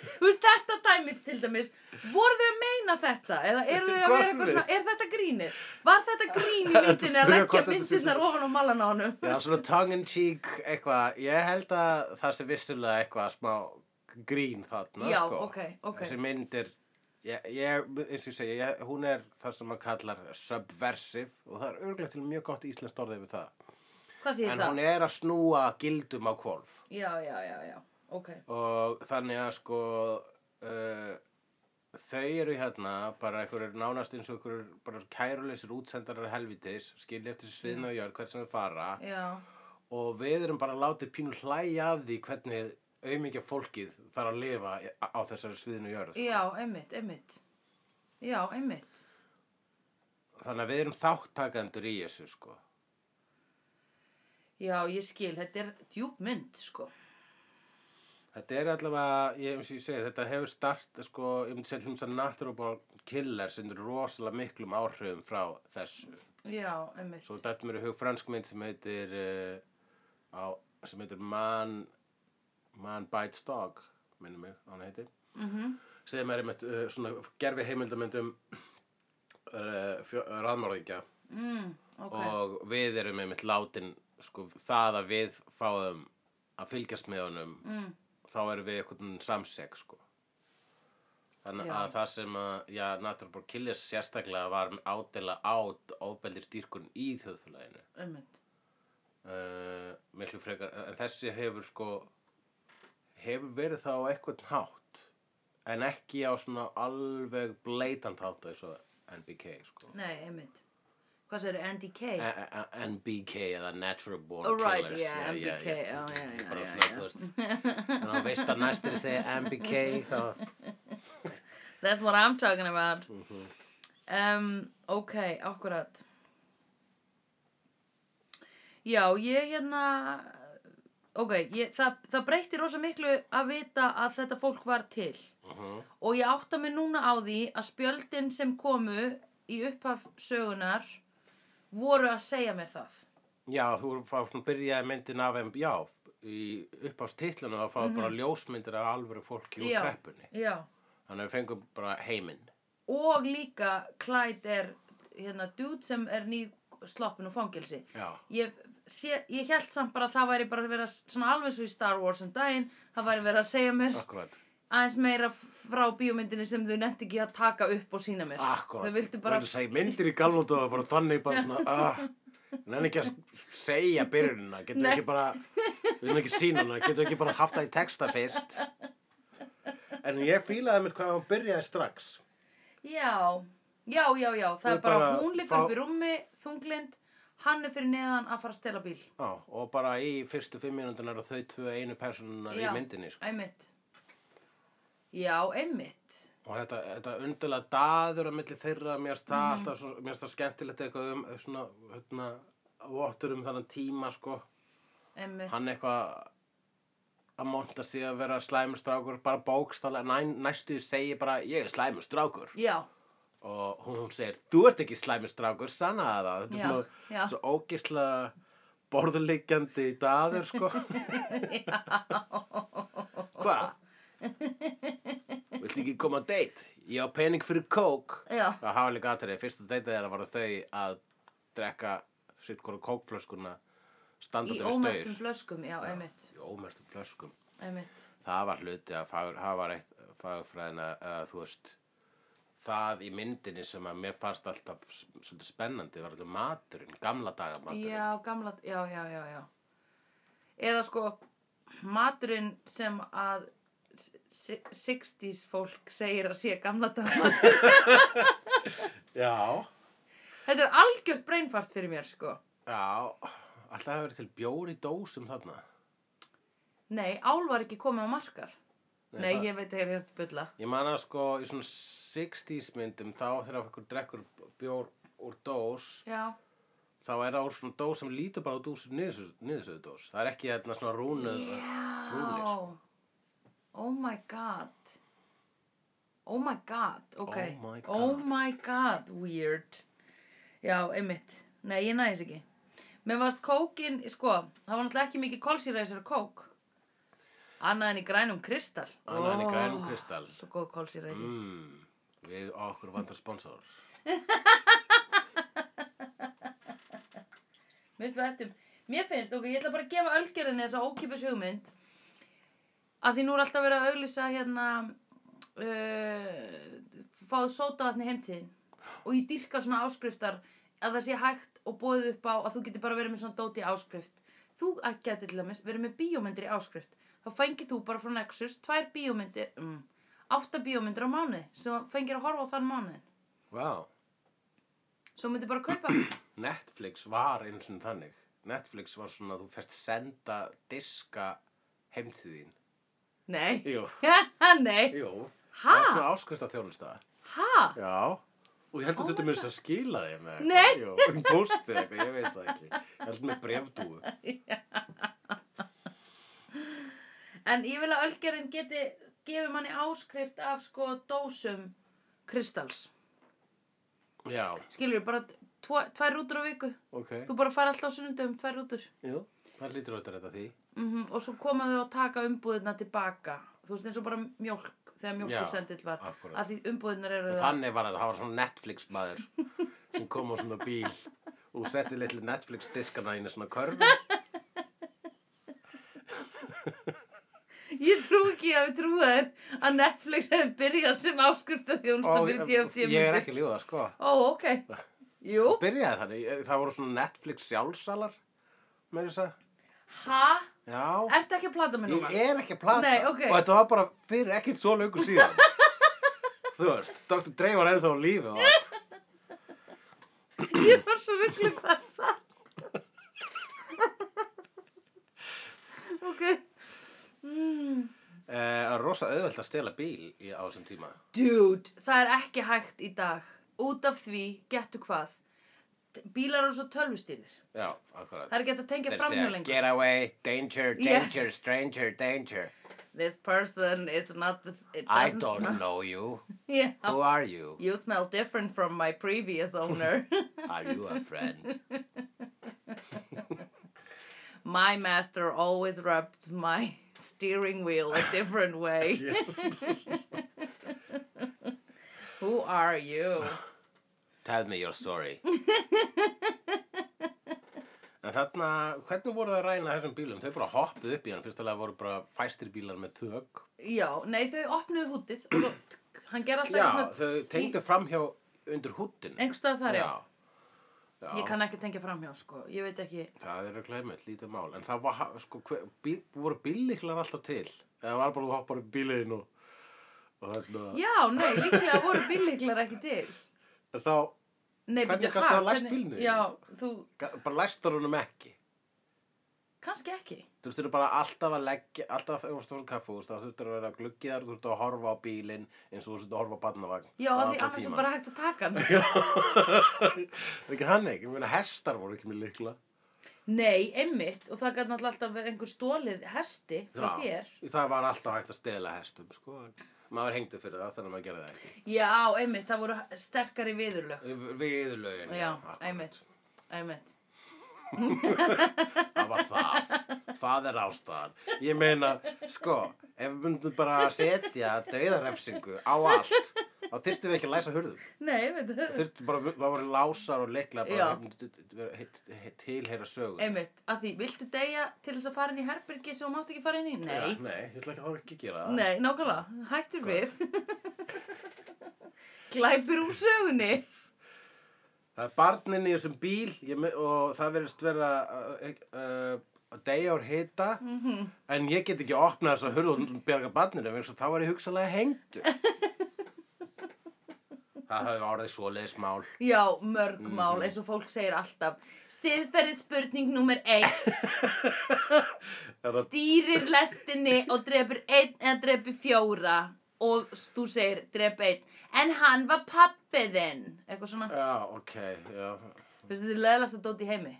Speaker 2: Þú veist, þetta dæmi til dæmis, voru þau að meina þetta? Eða eru þau að vera eitthvað svona, er þetta grínið? Var þetta grín í
Speaker 1: Ertu að
Speaker 2: myndinni að
Speaker 1: spyrja
Speaker 2: leggja
Speaker 1: hvort þetta sé
Speaker 2: myndirnar
Speaker 1: svona-
Speaker 2: ofan á malan á honum?
Speaker 1: Já, svona tongue in cheek eitthvað, ég held að það sé vissulega eitthvað smá grín þarna
Speaker 2: Já,
Speaker 1: sko.
Speaker 2: ok, ok.
Speaker 1: þessi mynd er ég, ég, eins og ég segi, ég, hún er það sem maður kallar subversive og það er örglega til mjög gott íslenskt orðið við það
Speaker 2: Hvað þýðir
Speaker 1: en hún
Speaker 2: það?
Speaker 1: er að snúa gildum á kvolf
Speaker 2: Já, já, já, já, ok.
Speaker 1: og þannig að sko uh, þau eru hérna bara einhverjur nánast eins og einhverjur bara kæruleysir útsendarar helvitis skilja eftir sviðna og jörg hvert sem þau fara
Speaker 2: Já,
Speaker 1: og við erum bara látið pínu hlæja af því hvernig aumingja fólkið þarf að lifa í- á á þessari sviðinu jörð.
Speaker 2: já, einmitt, einmitt. Já, einmitt.
Speaker 1: Þannig að við erum þáttakendur í þessu sko.
Speaker 2: Já, ég skil, þetta er djúp mynd, sko.
Speaker 1: Þetta er allavega, ég, eins og ég segi, þetta hefur start, sko, ég myndi segja hlumst að natural born killer sem eru rosalega miklum áhrifum frá þessu.
Speaker 2: Já, einmitt.
Speaker 1: Svo dætt mér í hug fransk mynd sem heitir, uh, á, sem heitir Man, Man Bites Dog, minnum mig, hann heitir.
Speaker 2: Mm
Speaker 1: sem er einmitt uh, svona um, gerfi heimildamöndum uh, raðmörðingja
Speaker 2: mm, ok.
Speaker 1: og við erum einmitt látin sko, það að við fáum að fylgjast með honum
Speaker 2: Mm,
Speaker 1: þá erum við einhvern samseg sko. þannig
Speaker 2: Já.
Speaker 1: að það sem að já, Natural Born Killers sérstaklega var ádela át ofbeldir stýrkun í þjóðfélaginu
Speaker 2: einmitt.
Speaker 1: uh, miklu frekar en þessi hefur sko hefur verið það á eitthvað nátt en ekki á svona alveg bleitant hátt eins og NBK sko
Speaker 2: Nei, einmitt. Hvað sér, NDK?
Speaker 1: E- e- e- NBK eða Natural Born
Speaker 2: Oh, right,
Speaker 1: Killers
Speaker 2: Oh, yeah, NBK, já, já, já,
Speaker 1: Bara
Speaker 2: já,
Speaker 1: svona,
Speaker 2: já.
Speaker 1: þú veist, Þannig að veist að næstir segja NBK þá
Speaker 2: That's what I'm talking about.
Speaker 1: Mhm.
Speaker 2: Um, ok, akkurat. Já, ég hérna... Ok, ég, það, það breytti rosa miklu að vita að þetta fólk var til.
Speaker 1: Mhm.
Speaker 2: Og ég átta mig núna á því að spjöldin sem komu í upphaf sögunar voru að segja mér það.
Speaker 1: Já, þú fá svona byrjaði myndin af en já, í uppástitlunum þá fá bara ljósmyndir af alvöru fólki úr
Speaker 2: Mhm. Já.
Speaker 1: kreppunni
Speaker 2: Já.
Speaker 1: þannig að við fengum bara heiminn
Speaker 2: Og líka Clyde er hérna dude sem er ný sloppin úr fangelsi.
Speaker 1: Já,
Speaker 2: ég, sé, ég held samt bara að það væri bara verið að, svona alveg svo í Star Wars um daginn, það væri verið að segja mér
Speaker 1: akkurat
Speaker 2: aðeins meira frá bíómyndinni sem þau nefndi ekki að taka upp og sína mér
Speaker 1: Akkurat.
Speaker 2: þau vildu bara
Speaker 1: Og þess að ég myndir í gamla og það var bara þannig bara svona, ah, en hann ekki að s- segja byrjunina, getur
Speaker 2: Nei.
Speaker 1: ekki bara, við erum ekki sína hana, getur ekki bara haft það í texta fyrst. En ég fílaði mér hvað hann byrjaði strax.
Speaker 2: já, já, já, já það
Speaker 1: Ég
Speaker 2: er bara,
Speaker 1: bara
Speaker 2: hún liggur
Speaker 1: fá-
Speaker 2: upp í rúmi þunglind, hann er fyrir neðan að fara að stela bíl
Speaker 1: Já, og bara í fyrstu fimm mínúndin eru þau tvö einu personunar í
Speaker 2: Já.
Speaker 1: myndinni, sko.
Speaker 2: einmitt já, einmitt
Speaker 1: Og þetta, þetta undirlega daður á milli þeirra, mér finnst það alltaf, svo- mér finnst það skemmtilegt eitthvað um, svona, hérna, vottur um þannan tíma, sko.
Speaker 2: einmitt,
Speaker 1: hann eitthvað að monta sig að vera slæmur strákur bara bókstala, næ, næstu segi bara ég er slæmur strákur
Speaker 2: já,
Speaker 1: og hún, hún segir, þú ert ekki slæmur strákur sannaði það, þetta
Speaker 2: Já,
Speaker 1: er
Speaker 2: já.
Speaker 1: svona svo ógisla borðuleikjandi í daður sko hvað viltu ekki koma á date ég á pening fyrir kók
Speaker 2: já
Speaker 1: Það hafa líka aðtrið, fyrsta deytið þeirra var þau að drekka sitt hvora kókflöskuna
Speaker 2: í
Speaker 1: standandi við staur
Speaker 2: ómertum flöskum, já, einmitt
Speaker 1: í ómertum flöskum
Speaker 2: einmitt,
Speaker 1: það var hluti að fagur, það var eitt fagurfræðina að þú veist það í myndinni sem að mér fannst alltaf s- svolítið spennandi var alltaf maturinn, gamla daga maturinn
Speaker 2: já, gamla já, já, já, já eða sko, maturinn sem að s- s- 60s fólk segir að sé gamla dagmat
Speaker 1: já.
Speaker 2: Þetta er algjört breinfart fyrir mér, sko.
Speaker 1: alltaf hefur verið til bjór í dósum þarna
Speaker 2: Nei, ál var ekki komið á markað. Nei,
Speaker 1: það-
Speaker 2: ég veit að ég er hérna bulla.
Speaker 1: Ég man að sko í svona 60s myndum þá þegar okkur drekkur bjór úr dós
Speaker 2: Já,
Speaker 1: þá er það úr svona dós sem lítur bara á dós niðursöðu dós. Það er ekki þarna svona rúnuð.
Speaker 2: já. Oh my god. Oh my god, ok.
Speaker 1: Oh my
Speaker 2: Oh
Speaker 1: god.
Speaker 2: my god, weird. Já, einmitt. Nei, ég næðis ekki. Mér varst kókin, sko, það var náttúrulega ekki mikið kolsýra í þessari kók. Annað en í grænum kristall.
Speaker 1: Annað en í
Speaker 2: Ó,
Speaker 1: grænum kristall.
Speaker 2: Svo góð kolsýra í því.
Speaker 1: Mm, við okkur vantar sponsor.
Speaker 2: Mér finnst við ættum, mér finnst, ok, ég ætla bara að gefa ölgerðinni þessa ókipis hugmynd að því nú er alltaf verið að auglýsa hérna uh, fáðu sótavatni heimtíðin og ég dýrka svona áskriftar að það sé hægt og bóðið upp á að þú getur bara verið með svona dóti áskrift þú geti til dæmis verið með bíómyndir í áskrift þá fengið þú bara frá Nexus tvær bíómyndir, um, átta bíómyndir á mánuði sem þú fengir að horfa á þann mánuðin
Speaker 1: Vá,
Speaker 2: svo myndir bara kaupa
Speaker 1: Netflix var eins og þannig. Netflix var svona að þú fyrst senda diska heim til þín.
Speaker 2: Nei,
Speaker 1: Jú,
Speaker 2: nei,
Speaker 1: jú. Það var
Speaker 2: hæ,
Speaker 1: svona áskrifta þjónusta.
Speaker 2: hæ
Speaker 1: Já. Og ég held
Speaker 2: Oh
Speaker 1: að þetta
Speaker 2: my
Speaker 1: mér þess að skila þig með
Speaker 2: Nei.
Speaker 1: eitthvað. Jú, um postið eitthvað, ég veit það ekki. Ég held með brefdúu.
Speaker 2: En ég vil að ölgerðin geti gefið manni áskrift af sko dósum kristals.
Speaker 1: Já,
Speaker 2: Skilur, bara tvo, tvær rútur á viku.
Speaker 1: ok.
Speaker 2: Þú bara fær alltaf á sunnundum tvær rútur.
Speaker 1: Jú, það lítur auðvitað þetta því.
Speaker 2: Mm Og svo koma þau að taka umbúðina tilbaka. Þú veist eins og bara mjólk, þegar
Speaker 1: Já,
Speaker 2: mjólkusendill var.
Speaker 1: akkúrat.
Speaker 2: Að því umbúðinar eru
Speaker 1: Og þannig var þetta, það var svona Netflix maður sem kom á svona bíl og setti litlu Netflix diskana inn í svona körfu.
Speaker 2: Ég trú ekki að við trúa þér að Netflix hefði byrjað sem áskrift að þjónsta fyrir TFT
Speaker 1: ég er ekki ljúða, sko.
Speaker 2: Ó, ok. Jú,
Speaker 1: Byrjaði þannig, ég- það voru svona Netflix sjálfsalar, með þess að.
Speaker 2: ha?
Speaker 1: Já,
Speaker 2: Ertu ekki að plata mig núna?
Speaker 1: ég er ekki að plata.
Speaker 2: Nei, ok.
Speaker 1: Og þetta var bara fyrir ekkert svo löngu síðan. Þú veist, Dr. Dre var ennþá á lífi og allt.
Speaker 2: Ég var svo rugglu hvað er satt. ok. Mm.
Speaker 1: Eh, rosa auðvelt að stela bíl í, á þessum tíma.
Speaker 2: Dude, það er ekki hægt í dag. Út af því, getur hvað. T- Bílar eru svo tölvustýrir.
Speaker 1: Já, akkurat.
Speaker 2: Það er ekki hægt að tengja
Speaker 1: Þeir segja,
Speaker 2: framhjá lengur.
Speaker 1: Get away, danger,
Speaker 2: Yes.
Speaker 1: danger, stranger, danger.
Speaker 2: This person is not this, it
Speaker 1: I
Speaker 2: doesn't
Speaker 1: don't
Speaker 2: smell.
Speaker 1: know you.
Speaker 2: Yeah.
Speaker 1: Who are you?
Speaker 2: You smell different from my previous owner.
Speaker 1: Are you a friend?
Speaker 2: my master always rubbed my steering wheel a different way. Who are you?
Speaker 1: Tell me you're sorry. En þarna, hvernig voru það að ræna þessum bílum? Þau bara hoppuð upp í hann. Fyrstulega voru bara fæstir bílar með þög.
Speaker 2: já, nei þau opnuðu hútið og svo tk, hann gerði alltaf
Speaker 1: Já,
Speaker 2: eitthvað svona
Speaker 1: þau
Speaker 2: tss-
Speaker 1: tengdu framhjá undir húttinu.
Speaker 2: einhvers stað þar, já.
Speaker 1: Já,
Speaker 2: Ég kann ekki tengja framhjá, sko, ég veit ekki
Speaker 1: það er auðvitað einmitt, lítið mál. En það var, sko, hver, bí, voru bílliklar alltaf til. Eða var bara þú hoppar í bíliðin og, og hérna- þarna.
Speaker 2: Já, nei, líklega voru bílíklar ekki til
Speaker 1: En þá
Speaker 2: Nei,
Speaker 1: Hvernig
Speaker 2: bíddu,
Speaker 1: gastu
Speaker 2: ha,
Speaker 1: þá læst
Speaker 2: hvernig-
Speaker 1: bílnum?
Speaker 2: Já, þú,
Speaker 1: ga- bara læstar honum ekki.
Speaker 2: kannski ekki
Speaker 1: Þú þurftur bara alltaf að leggja, alltaf ef þú stofn kaffús, þá þurftur að vera gluggiðar, þú þurftur að horfa á bílinn eins og þú þurftur að horfa á barnavagn.
Speaker 2: Já, af því annars er bara hægt að taka hann
Speaker 1: er ekki hann ekki, ég meina hestar voru ekki með lykla.
Speaker 2: Nei, einmitt, og það gæti náttúrulega alltaf verið einhver stólið hesti frá
Speaker 1: Já,
Speaker 2: þér
Speaker 1: það var alltaf hægt að stela hestum, sko. Maður hengdu fyrir það, þannig að maður gerði það ekki.
Speaker 2: Já, einmitt, það voru sterkari viðurlög
Speaker 1: Viðurlögin,
Speaker 2: Já,
Speaker 1: akkúrat.
Speaker 2: einmitt. Einmitt
Speaker 1: Það var það. Það er ástæðan. Ég meina, sko, ef við myndum bara að setja dauðarefsingu á allt, þá þyrftum við ekki að læsa hurðum.
Speaker 2: Nei, veit
Speaker 1: Það
Speaker 2: það
Speaker 1: Þyrftum bara, það voru lásar og leiklar
Speaker 2: Já.
Speaker 1: bara myndu- vera- hit- hit- tilheyra sögur.
Speaker 2: Einmitt, að því, viltu deyja til þess að fara inn í herbergi sem þú mátt ekki fara inn í? Nei,
Speaker 1: Já, nei, ég ætla ekki að það ekki að gera það.
Speaker 2: nei, nákvæmlega, hættur við Glæpir úr sögunni
Speaker 1: Það er barnin í þessum bíl ég me- og það verðist vera uh, uh, að deyja úr hita
Speaker 2: Mhm.
Speaker 1: en ég get ekki að opna þess að hurða og bjarga barninu vegna þess að þá var ég hugsalega hengdur. það hefur orðið svoleiðis mál.
Speaker 2: Já, mörg mál, eins og fólk segir alltaf Siðferðið spurning númer eitt
Speaker 1: Er það,
Speaker 2: Stýrir lestinni og drepur einn eða drepur fjóra Og s- þú segir, drep einn En hann var pappiðinn Eitthvað svona
Speaker 1: já, ok, já.
Speaker 2: Veistu, þetta er leðlast að dóti í heimi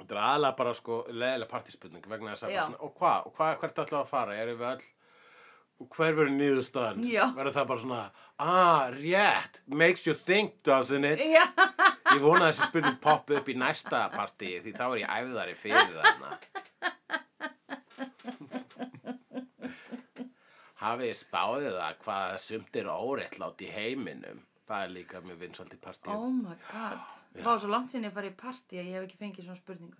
Speaker 1: Þetta er aðlega bara sko leðilega partíspurning vegna þess að
Speaker 2: Já.
Speaker 1: bara svona, og hvað, og hvað, hvert ætlaðu að fara? Erum við all, og hver verður niðurstaðan?
Speaker 2: Já.
Speaker 1: Verður það bara svona, ah, rétt, makes you think, doesn't it?
Speaker 2: Já,
Speaker 1: Ég vona að þessi spurning poppi upp í næsta partíi því þá er ég æfðari fyrir þarna. Hafið þið spáðið það hvað sumt er óréttlátt í heiminum? Það er líka mjög vinsalt í partíu.
Speaker 2: oh my god Vá, svo langt sinni að fara í partí að ég hef ekki fengið svona spurningu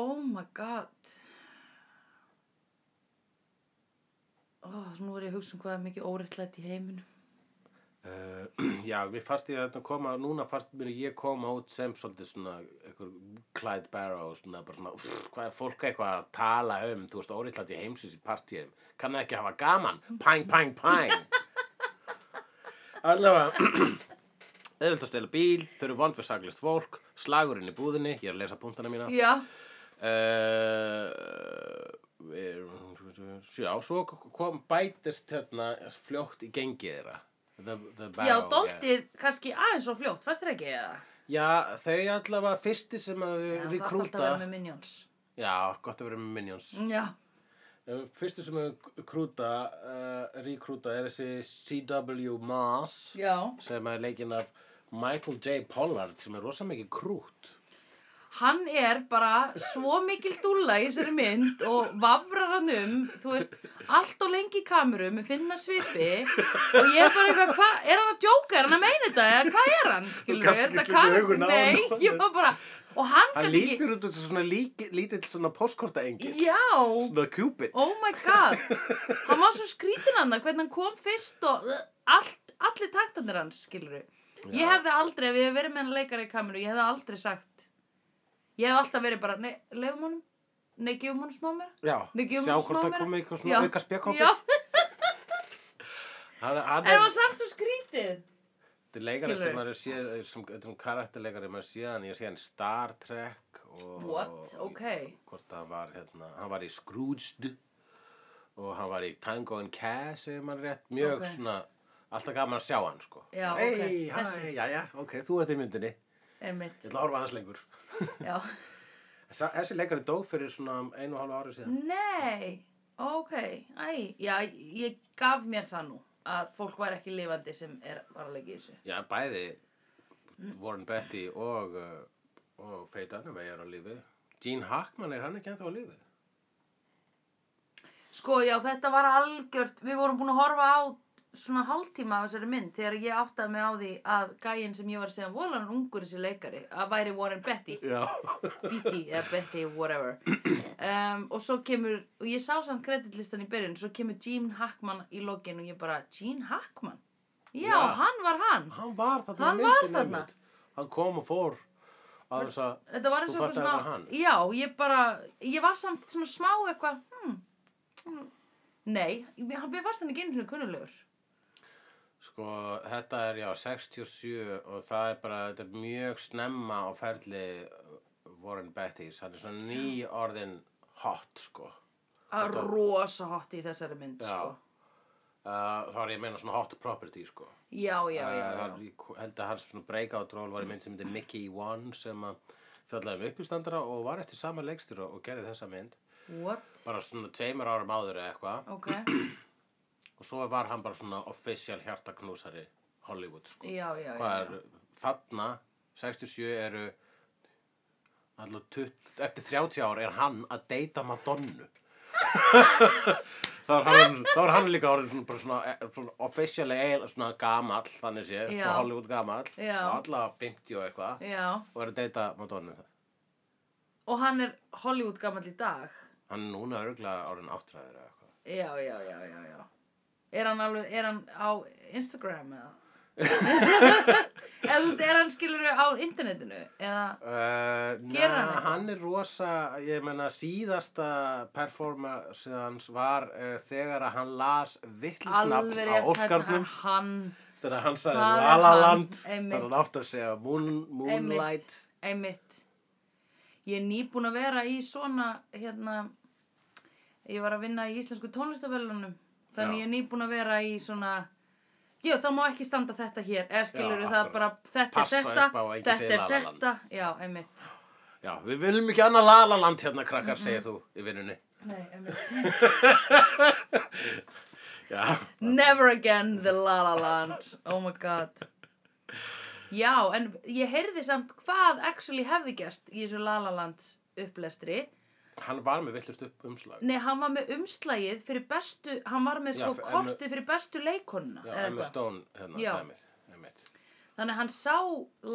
Speaker 2: Oh my god Ó, nú er ég að hugsa um hvað er mikið óréttlætt í heiminum
Speaker 1: Uh, já, mér fannst ég að koma, núna fannst mér ég koma út sem svolítið svona einhver Clyde Barrow, svona bara svona, pff, hvað er fólk eitthvað að tala um, þú veist, óréttlátt í heimsins í partíum, kann það ekki hafa gaman, pæng, pæng, pæng. Allavega, auðvitað að stela bíl, þau eru vond fyrir saklist fólk, slagurinn í búðinni, ég er að lesa punktana mína.
Speaker 2: Já,
Speaker 1: Uh, við erum, já, svo kom bætist hérna fljótt í gengið þeirra. The, the
Speaker 2: já,
Speaker 1: barrel,
Speaker 2: dóltið kannski aðeins svo fljótt, fannst þér ekki eða?
Speaker 1: Já, þau allavega fyrsti sem að
Speaker 2: Já,
Speaker 1: þau
Speaker 2: Það þarf alltaf að
Speaker 1: rekrúta
Speaker 2: vera með Minions
Speaker 1: Já, gott að vera með Minions
Speaker 2: Já,
Speaker 1: mm. Fyrsti sem þau krúta uh, rekrúta er þessi C.W. Maas
Speaker 2: já
Speaker 1: sem er leikinn af Michael J. Pollard sem er rosa mikið krút
Speaker 2: Hann er bara svo mikil dúlla í þessari mynd og vafrar hann um, þú veist, allt og lengi í kameru með finna svipi og ég er bara eitthvað, hva, er hann að djóka, er hann að meina þetta eða hvað er hann, skilur
Speaker 1: gast ekki slitið augun af honum.
Speaker 2: Nei, ég var bara, og hann
Speaker 1: Hann
Speaker 2: gæti ekki,
Speaker 1: lítur út þessu svona líki, lítill svona postkorta engil
Speaker 2: já,
Speaker 1: Svona Cupid
Speaker 2: Oh my god, hann var svo skrítinn hann hvernig hann kom fyrst og uh, allt, allir taktandir hans, skilur Ég
Speaker 1: Já.
Speaker 2: hefði aldrei, ef ég hefði verið með hann leikari í kameru, ég hefði aldrei sagt Ég hefði alltaf verið bara, nei, leifum honum, nei, gefum honum smá mér
Speaker 1: Já,
Speaker 2: Nei, gefum
Speaker 1: sjá
Speaker 2: honum
Speaker 1: hvort
Speaker 2: smá
Speaker 1: það komið
Speaker 2: meira.
Speaker 1: eitthvað svona auka
Speaker 2: Já,
Speaker 1: spjakkopi Hann, hann
Speaker 2: en það
Speaker 1: er,
Speaker 2: var samt svo skrítið
Speaker 1: þetta er leikari
Speaker 2: skilurðu.
Speaker 1: sem maður séð, sem, þetta er um karakterleikari maður séðan, ég séðan Star Trek og
Speaker 2: What? Ok,
Speaker 1: hvort það var hérna, hann var í Scrooged og hann var í Tango and Cash ef mann rétt, mjög
Speaker 2: Ok.
Speaker 1: svona alltaf gaman að sjá hann sko
Speaker 2: Já,
Speaker 1: hey,
Speaker 2: ok,
Speaker 1: hæ,
Speaker 2: þessi.
Speaker 1: já, já, ok, þú ert í myndinni ég
Speaker 2: einmitt
Speaker 1: ætla að horfa aðeins lengur
Speaker 2: Já,
Speaker 1: Þessa- þessi leikari dó fyrir svona einu og halvu ári síðan
Speaker 2: nei, ok, æ, já, ég gaf mér það nú að fólk var ekki lifandi sem er varleiki í þessu
Speaker 1: já, bæði Warren Betty og uh, og Faye Dunaway er á lífi Gene Hackman, er hann ekki ennþá á lífi?
Speaker 2: Sko, já, þetta var algjört, við vorum búin að horfa á svona hálftíma á þessari mynd þegar ég áttaði mig á því að gæinn sem ég var að segja volan ungur þessi leikari að væri Warren Betty
Speaker 1: Já,
Speaker 2: Beatty eða Betty whatever um, og svo kemur og ég sá samt kreditlistan í byrjun svo kemur Gene Hackman í lokin og ég bara Gene Hackman? Já,
Speaker 1: Já.
Speaker 2: hann var hann
Speaker 1: hann var þarna
Speaker 2: Hann
Speaker 1: í
Speaker 2: var
Speaker 1: myndinni
Speaker 2: þarna.
Speaker 1: einmitt. Hann kom og fór að þess að
Speaker 2: þetta var eins
Speaker 1: Þú
Speaker 2: og
Speaker 1: fattaði að það var
Speaker 2: eitthvað svona
Speaker 1: hann?
Speaker 2: já, ég bara, ég var samt svona smá eitthvað hmm, hmm, nei, mér hann- mér fannst hann ekki einu svona kunnulegur
Speaker 1: Sko, þetta er já 67 og það er bara, þetta er mjög snemma á ferli uh, Warren Bettys, hann er svona ný orðin hot sko.
Speaker 2: að
Speaker 1: Þetta-
Speaker 2: rosa hot í þessari mynd
Speaker 1: Já.
Speaker 2: sko.
Speaker 1: Uh, þá er ég að meina svona hot property sko.
Speaker 2: já, já, já,
Speaker 1: Eh,
Speaker 2: já.
Speaker 1: hann- Ég held að hans svona breakout role var í mynd sem myndi Mickey One sem að fjallaði um uppistandara og var eftir sama leikstýra og gerði þessa mynd.
Speaker 2: what?
Speaker 1: Bara svona tveimur árum áður eða eitthvað
Speaker 2: ok,
Speaker 1: og svo var hann bara svona official hjartaknúsari Hollywood sko.
Speaker 2: já, já, já,
Speaker 1: Hvað er,
Speaker 2: já.
Speaker 1: þarna, 67 eru allavega 20, eftir 30 ár er hann að deyta Madonnu þá er hann, þá er hann líka orðin svona, bara svona, eh, svona officially eiginlega svona gamall þannig sé,
Speaker 2: Já.
Speaker 1: svona Hollywood gamall
Speaker 2: Já.
Speaker 1: og allavega 50 og eitthvað
Speaker 2: já
Speaker 1: og er að deyta Madonnu
Speaker 2: og hann er Hollywood gamall í dag
Speaker 1: hann er núna örgulega orðin áttræður eða eitthvað
Speaker 2: já, já, já, já, já er hann alveg, er hann á Instagram eða? eða þú veist, er hann skilur á internetinu eða
Speaker 1: Uh,
Speaker 2: Gerir hann
Speaker 1: na,
Speaker 2: eitthvað?
Speaker 1: hann er rosa ég meina síðasta performance hans var uh, þegar að hann las vittlisnafn
Speaker 2: alveg
Speaker 1: á
Speaker 2: rétt
Speaker 1: Óskarnum
Speaker 2: er hann
Speaker 1: þegar hann sagði
Speaker 2: Það er
Speaker 1: La La
Speaker 2: hann,
Speaker 1: Land
Speaker 2: einmitt.
Speaker 1: þegar hann átti að segja moon, Moonlight
Speaker 2: einmitt, einmitt ég er nýbúin að vera í svona hérna ég var að vinna í íslensku tónlistavellunum þannig
Speaker 1: Já.
Speaker 2: ég er nýbúin að vera í svona Jú, þá má ekki standa þetta hér, eða skilur
Speaker 1: Já,
Speaker 2: það
Speaker 1: akkurat.
Speaker 2: bara, þetta er
Speaker 1: Passa
Speaker 2: þetta,
Speaker 1: upp á að ekki
Speaker 2: þetta
Speaker 1: segja
Speaker 2: er
Speaker 1: La La Land.
Speaker 2: þetta, já, einmitt.
Speaker 1: já, við viljum ekki annað La La Land hérna krakkar
Speaker 2: Mhm.
Speaker 1: segir þú í vinnunni
Speaker 2: Nei, einmitt.
Speaker 1: já,
Speaker 2: Never again the La La Land Oh my god Já, en ég heyrði samt hvað actually hefði gerst í þessu La La Land upplestri
Speaker 1: hann var með vittlust upp umslag
Speaker 2: Nei, hann var með umslagið fyrir bestu hann var með sko
Speaker 1: Já, Emma-
Speaker 2: kortið fyrir bestu leikonuna
Speaker 1: já,
Speaker 2: eða
Speaker 1: Emma
Speaker 2: eitthvað.
Speaker 1: Stone hérna
Speaker 2: Já.
Speaker 1: dæmið einmitt.
Speaker 2: Þannig að hann sá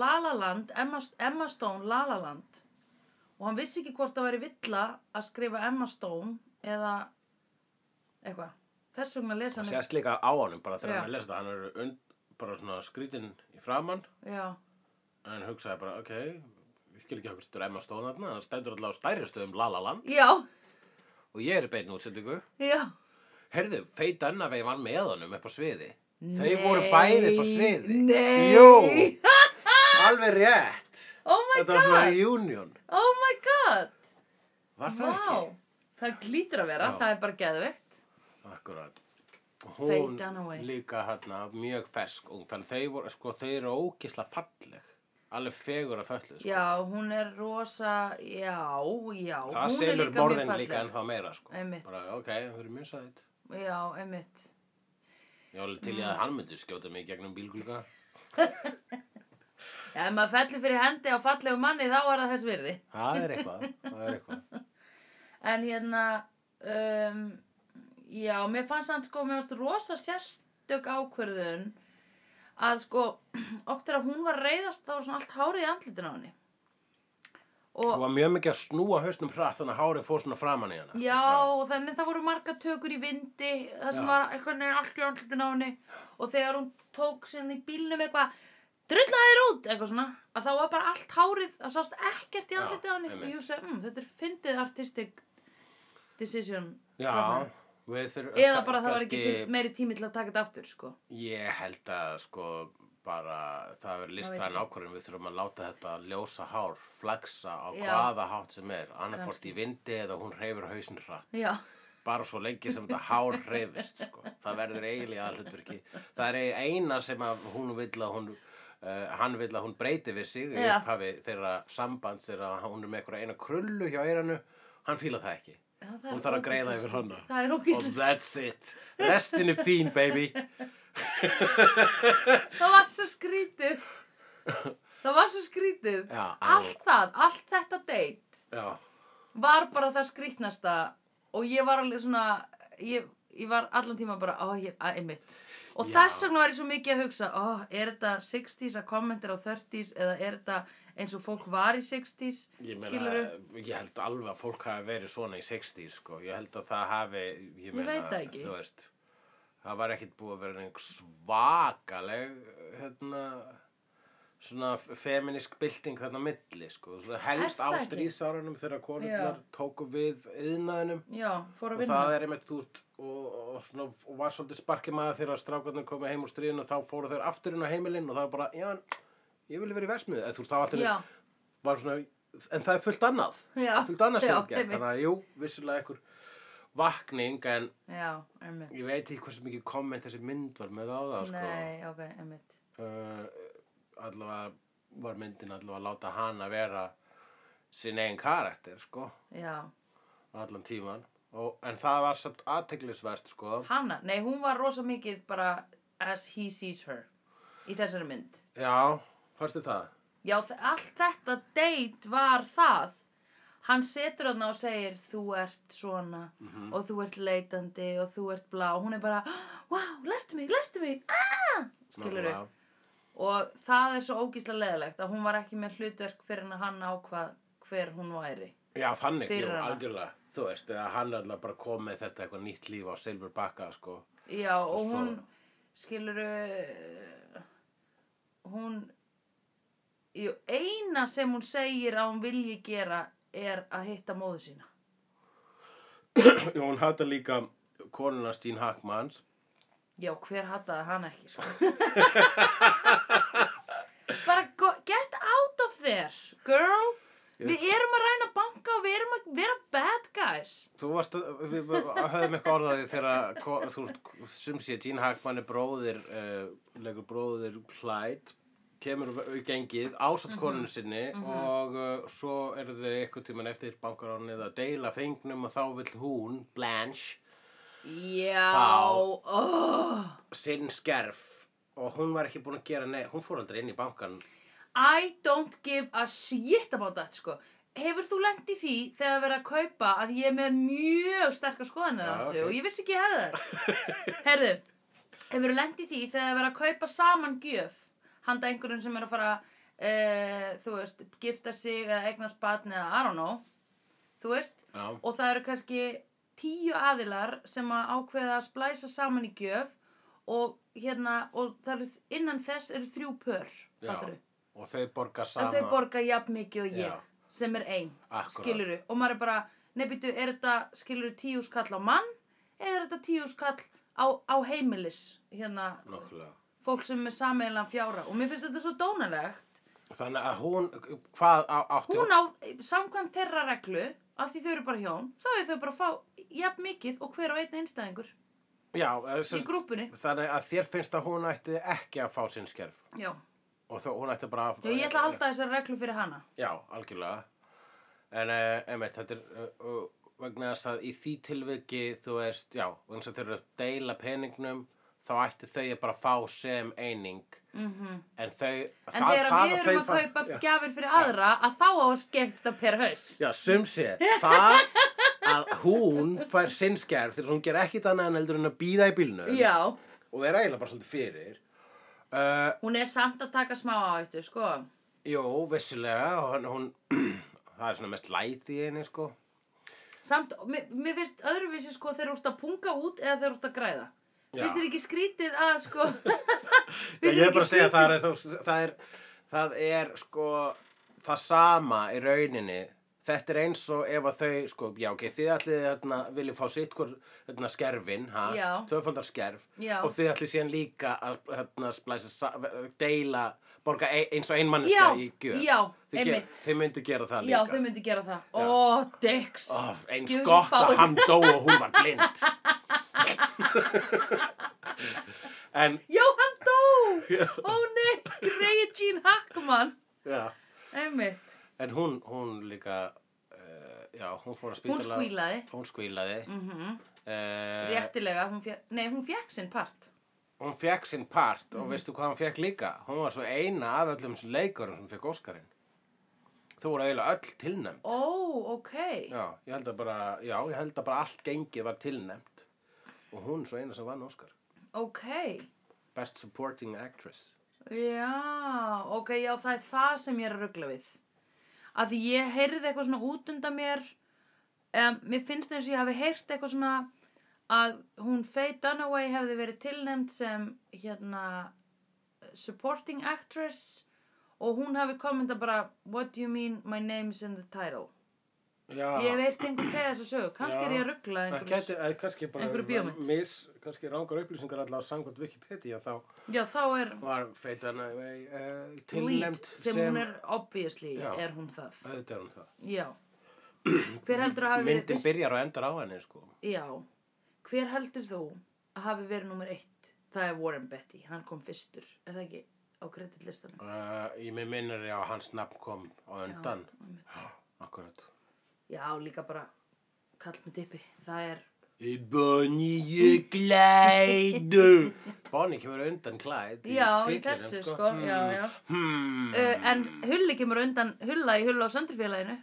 Speaker 2: La La Land Emma, Emma Stone La La Land og hann vissi ekki hvort það væri villa að skrifa Emma Stone eða eitthvað Þess vegna lesa
Speaker 1: það
Speaker 2: hann
Speaker 1: sést líka á honum bara
Speaker 2: Já.
Speaker 1: þegar hann lesa það hann er und, bara svona skrítinn í framann
Speaker 2: Já,
Speaker 1: En hann hugsaði bara, ok, ég skil ekki okkur stendur Emma Stone þarna, hann stendur allavega á stærri stöðum La La Land
Speaker 2: já,
Speaker 1: og ég er í beinu útsendingu.
Speaker 2: já
Speaker 1: Heyrðu, Feit Annavei var með honum upp á sviði.
Speaker 2: Nei,
Speaker 1: Þau voru bæði upp á sviði.
Speaker 2: Nei
Speaker 1: Jú, alveg rétt.
Speaker 2: Oh
Speaker 1: Þetta
Speaker 2: my
Speaker 1: var svona
Speaker 2: god
Speaker 1: reunion.
Speaker 2: Oh my god
Speaker 1: Var það
Speaker 2: Vá Það glýtur að vera,
Speaker 1: Já.
Speaker 2: það er bara geðveikt
Speaker 1: ekki? Akkurát.
Speaker 2: Faye
Speaker 1: Hún
Speaker 2: Dunaway.
Speaker 1: líka hérna mjög fersk ung, þannig þau voru, sko, þau eru ógisla falleg. Alveg fegur að föllu, sko.
Speaker 2: Já, hún er rosa Já, já
Speaker 1: það
Speaker 2: Hún er
Speaker 1: selur
Speaker 2: líka mjög
Speaker 1: morðin
Speaker 2: falleg
Speaker 1: líka en það meira, sko.
Speaker 2: Einmitt.
Speaker 1: Bara, ok, þau eru mjög sætt.
Speaker 2: Já, einmitt
Speaker 1: Ég var alveg til í
Speaker 2: Mm.
Speaker 1: að hann myndi skjóta mig í gegnum bílgluga.
Speaker 2: Ef maður fellur fyrir hendi á fallegu manni þá er það þess virði
Speaker 1: Það er eitthvað, það er eitthvað.
Speaker 2: En hérna um, Já, mér fannst hann sko Mér fannst rosa sérstök ákvörðun Að sko Oft er að hún var að reyðast þá var svona allt hárið í andlitin á henni Og
Speaker 1: Hún var mjög mikið að snúa hausnum hratt þannig að hárið fór svona framan í hana.
Speaker 2: Já, og þannig það voru marga tökur í vindi, það sem
Speaker 1: Já.
Speaker 2: var eitthvað neginn allt í andlutin á henni og þegar hún tók sinni í bílnum eitthvað, drulla þér út, eitthvað svona, að þá var bara allt hárið, það sást ekkert í
Speaker 1: Já,
Speaker 2: andlutin á henni og
Speaker 1: einmitt.
Speaker 2: ég hugsaði, mm, þetta er fyndið artistic decision.
Speaker 1: Já,
Speaker 2: þarna.
Speaker 1: við þurfum...
Speaker 2: Eða bara það var ekki til, meiri tími til að taka þetta aftur, sko.
Speaker 1: Ég held að sko bara það er listræn
Speaker 2: ekki.
Speaker 1: ákvörðin við þurfum að láta þetta ljósa hár flagsa á
Speaker 2: Já.
Speaker 1: hvaða hátt sem er annarkort
Speaker 2: Kannski.
Speaker 1: í vindi eða hún hreyfir hausinn hratt
Speaker 2: Já,
Speaker 1: bara svo lengi sem þetta hár hreyfist sko. það verður eiginlega hlutverki það er eiginlega eina sem að hún vill að hún Uh, hann vill að hún breyti við sig í
Speaker 2: Já.
Speaker 1: upphafi þeirra sambands þegar hún er með einhverja eina krullu hjá eiranu hann fíla það ekki
Speaker 2: Já, það
Speaker 1: Hún
Speaker 2: er
Speaker 1: þarf að greiða
Speaker 2: ógeðslega
Speaker 1: yfir
Speaker 2: skrítið.
Speaker 1: hana.
Speaker 2: Það er
Speaker 1: og
Speaker 2: ógíslega,
Speaker 1: that's it restin er fín baby
Speaker 2: það var svo skrítið. Það var svo skrítið.
Speaker 1: Já,
Speaker 2: allt það, allt þetta date
Speaker 1: já,
Speaker 2: var bara það skrýtnasta og ég var alveg svona ég, ég var allan tíma bara á ég, að, einmitt og
Speaker 1: Já.
Speaker 2: þess vegna var ég svo mikið að hugsa oh, er þetta 60s að kommentir á 30s eða er þetta eins og fólk var í 60s
Speaker 1: Ég, meina, eh,
Speaker 2: skilurðu?
Speaker 1: ég held alveg að fólk hafi verið svona í 60 sko. Ég held að það hafi, ég, meina,
Speaker 2: veit það ekki.
Speaker 1: þú veist, það var ekkit búið að vera einhver svakaleg, hérna, svona feminísk bylting þarna á milli, sko. Svona helst á
Speaker 2: það ekki?
Speaker 1: stríðsárunum þegar konurnar
Speaker 2: Já.
Speaker 1: tóku við yðnaðinum.
Speaker 2: já,
Speaker 1: Og
Speaker 2: fór að vinna
Speaker 1: það er einmitt, þú veist, og, og, svona, og var svolítið sparkið maður þegar strákarnir komið heim úr stríðinu og þá fóru þeir aftur inn á heimilinn og það var bara, já, en ég vil vera í versmiðu. Eða, þú veist, það var alltaf
Speaker 2: já,
Speaker 1: var svona, en það er fullt annað
Speaker 2: Já,
Speaker 1: fullt annað sem
Speaker 2: já,
Speaker 1: er gert
Speaker 2: einmitt.
Speaker 1: þannig að jú, vissulega einhver vakning en
Speaker 2: já, einmitt
Speaker 1: ég veit ekki hversu mikið komment þessi mynd var með á það sko.
Speaker 2: nei, ok, einmitt
Speaker 1: uh, allavega var myndin allavega að láta hana vera sinn eigin karakter sko,
Speaker 2: já,
Speaker 1: allan tíman Og, en það var satt aðteglisvert sko.
Speaker 2: hana, nei, hún var rosa mikið bara as he sees her í þessari mynd
Speaker 1: já, fannstu það?
Speaker 2: Já, þ- allt þetta date var það. Hann setur hann og segir, þú ert svona
Speaker 1: Mhm. Mm.
Speaker 2: og þú ert leitandi og þú ert blá. Hún er bara, wow, lestu mig, lestu mig, aaaah, skilur við.
Speaker 1: Nákvæmlega.
Speaker 2: Og það er svo ógíslega leðilegt að hún var ekki með hlutverk fyrir en að hann ákvað hver hún væri.
Speaker 1: já, þannig,
Speaker 2: Fyrir
Speaker 1: jú,
Speaker 2: hana.
Speaker 1: algjörlega þú veist, eða hann er allavega bara kom með þetta eitthvað nýtt líf á Silverbakka sko.
Speaker 2: Já, og
Speaker 1: Og svo-
Speaker 2: hún, skilur hún, jú, eina sem hún segir að hún vilji gera er að hitta móðu sína.
Speaker 1: Já, hún hata líka konuna Stín Hackmanns.
Speaker 2: Já, hver hataði hann ekki, sko. Bara go- get out of there, girl. Við erum að ræna banka og við erum að vera bad guys.
Speaker 1: Þú varst, að- við við höfðum eitthvað orðaði þegar, ko- þú veist, sum sé, Gene Hackman er bróðir, uh, leikur bróðir Clyde, kemur í gengið ásatt
Speaker 2: Mhm.
Speaker 1: konunu sinni og uh, svo eru þau eitthvað tíman eftir bankaránið að deila fengnum og þá vill hún, Blanche,
Speaker 2: Já,
Speaker 1: Þá-
Speaker 2: oh.
Speaker 1: sinn skerf og hún var ekki búin að gera neitt, hún fór aldrei inn í bankan.
Speaker 2: I don't give a shit about that, sko. Hefur þú lent í því þegar verið að kaupa að ég er með mjög sterkar skoðanir
Speaker 1: Já,
Speaker 2: af þessu
Speaker 1: ok.
Speaker 2: og ég vissi ekki að ég hefði þær. Herðu, hefur þú lent í því þegar verið að kaupa saman gjöf handa einhverjum sem er að fara, uh, þú veist, gifta sig eða eignast batn eða I don't know, þú veist,
Speaker 1: Já,
Speaker 2: og það eru kannski tíu aðilar sem að ákveða að splæsa saman í gjöf og hérna, og það eru, innan þess eru þrjú pör,
Speaker 1: Já,
Speaker 2: fattar
Speaker 1: og þau borga
Speaker 2: að
Speaker 1: sama.
Speaker 2: þau borga jafn mikið og ég
Speaker 1: Já.
Speaker 2: sem er ein,
Speaker 1: Akkúrat.
Speaker 2: skiluru og maður er bara, nefndu, er þetta skiluru tíu skall á mann eða er þetta tíu skall á, á heimilis hérna,
Speaker 1: Nákvæmlega.
Speaker 2: fólk sem er sameiginlega fjára og mér finnst þetta svo dónalegt
Speaker 1: Þannig að hún, hvað á, átti
Speaker 2: hún á, samkvæmt þeirra reglu af því þau eru bara hjón, þá er þau bara að fá jafn mikið og hver á einn einstæðingur
Speaker 1: Já, eða sem sagt,
Speaker 2: í grúpunni
Speaker 1: Þannig að þér finnst að hún ætti ekki að fá sinn skerf
Speaker 2: já,
Speaker 1: og þá hún ætti bara að...
Speaker 2: já ég ætla að halda þessar reglu fyrir hana
Speaker 1: Já, algjörlega. En uh, einmitt, þetta er uh, uh, vegna þess að í því tilviki þú veist, já, vegna þess að þeir eru að deila peningnum þá ætti þau að bara fá sem eining
Speaker 2: mhm
Speaker 1: en þau...
Speaker 2: En þegar við erum að kaupa
Speaker 1: Já,
Speaker 2: gjafir fyrir aðra að þá á að skemmta per haus.
Speaker 1: já sum sé, það að hún fær sinn skerf þegar hún ger ekkit annað en heldur en að býða í bílnum
Speaker 2: Já,
Speaker 1: og vera eiginlega bara svolítið fyrir. Uh,
Speaker 2: hún er samt að taka smá áhættu, sko.
Speaker 1: Jó, vissulega, og hann, hún, það er svona mest læti í henni, sko.
Speaker 2: Samt, mér, mér finnst öðruvísi, sko, þeir eru út að punga út eða þeir eru út að græða.
Speaker 1: Já.
Speaker 2: Finnst þér ekki skrítið að, sko...
Speaker 1: Ég
Speaker 2: finnst þér
Speaker 1: er bara
Speaker 2: ekki
Speaker 1: að segja,
Speaker 2: skrítið-
Speaker 1: það er, þó- það er, það er, sko, það sama í rauninni. Þetta er eins og ef að þau, sko, já, ok, þið ætlið þarna, viljið fá sitt hvort, þarna, skerfin, ha?
Speaker 2: Já.
Speaker 1: Tvöfaldar skerf.
Speaker 2: Já.
Speaker 1: Og þið ætlið síðan líka að, þarna, splæsa, sa- deila, borga ein, eins og einmanniska
Speaker 2: Já,
Speaker 1: í gjöf.
Speaker 2: já,
Speaker 1: Þið ger-
Speaker 2: einmitt.
Speaker 1: Þið myndu gera það
Speaker 2: Já,
Speaker 1: líka.
Speaker 2: þau myndu gera það.
Speaker 1: Já.
Speaker 2: Ó, dicks.
Speaker 1: Oh, eins
Speaker 2: Djöfusins
Speaker 1: gott að
Speaker 2: fáið.
Speaker 1: hann dó og hún var blind En
Speaker 2: Já, hann dó!
Speaker 1: Já.
Speaker 2: Ó, nei, greið Gene Hackman.
Speaker 1: já,
Speaker 2: Einmitt.
Speaker 1: En hún, hún líka uh, Já, hún fór að
Speaker 2: Hún
Speaker 1: spítala
Speaker 2: skvílaði.
Speaker 1: Hún skvílaði
Speaker 2: Mm
Speaker 1: uh,
Speaker 2: Réttilega, hún fekk, nei, hún fekk sinn part.
Speaker 1: Hún fekk sinn part
Speaker 2: Mhm.
Speaker 1: og veistu hvað hún fekk líka Hún var svo eina af öllum þessum leikurum sem fekk Óskarinn Þú voru eiginlega öll tilnæmt
Speaker 2: Ó, ok.
Speaker 1: Já, ég held að bara, já, ég held að bara allt gengið var tilnæmt Og hún svo eina sem vann Óskar
Speaker 2: Ok.
Speaker 1: Best Supporting Actress
Speaker 2: Já, ok, já, það er það sem ég er að ruggla við. Að því ég heyrði eitthvað svona út undan mér, um, mér finnst eins og ég hafi heyrt eitthvað svona að hún Faye Dunaway hefði verið tilnefnd sem, hérna, supporting actress og hún hafi kommentað bara, what do you mean, my name's in the title.
Speaker 1: Já,
Speaker 2: Ég hef heyrt einhvern segja þessa sögu, kannski er ég að ruggla
Speaker 1: það
Speaker 2: einhvers.
Speaker 1: gæti, eða kannski
Speaker 2: einhverju
Speaker 1: bara
Speaker 2: bíómynd.
Speaker 1: mis, kannski rángar upplýsingar allavega samkvæmt Wikipedia þá
Speaker 2: Já, þá er
Speaker 1: var feitan uh,
Speaker 2: lead,
Speaker 1: tilnæmt
Speaker 2: sem, hún er, obviously,
Speaker 1: Já.
Speaker 2: er hún það.
Speaker 1: auðvitað er hún það
Speaker 2: Já. Hver heldur að hafi verið...
Speaker 1: myndin byrjar og endar á henni sko
Speaker 2: Já, hver heldur þú að hafi verið nummer eitt? Það er Warren Betty, hann kom fyrstur, er það ekki á kreditlistanum?
Speaker 1: uh, ég með minnur já hans nafn kom á undan
Speaker 2: Já, einmitt.
Speaker 1: akkurat
Speaker 2: Já, líka bara kall með tippi, það er,
Speaker 1: í Bonnie Clyde Bonnie kemur undan Clyde
Speaker 2: já, í þessu sko, já, já.
Speaker 1: hmm.
Speaker 2: Uh, en Hulli kemur undan, Hulla í Hulla á Söndrufélaginu,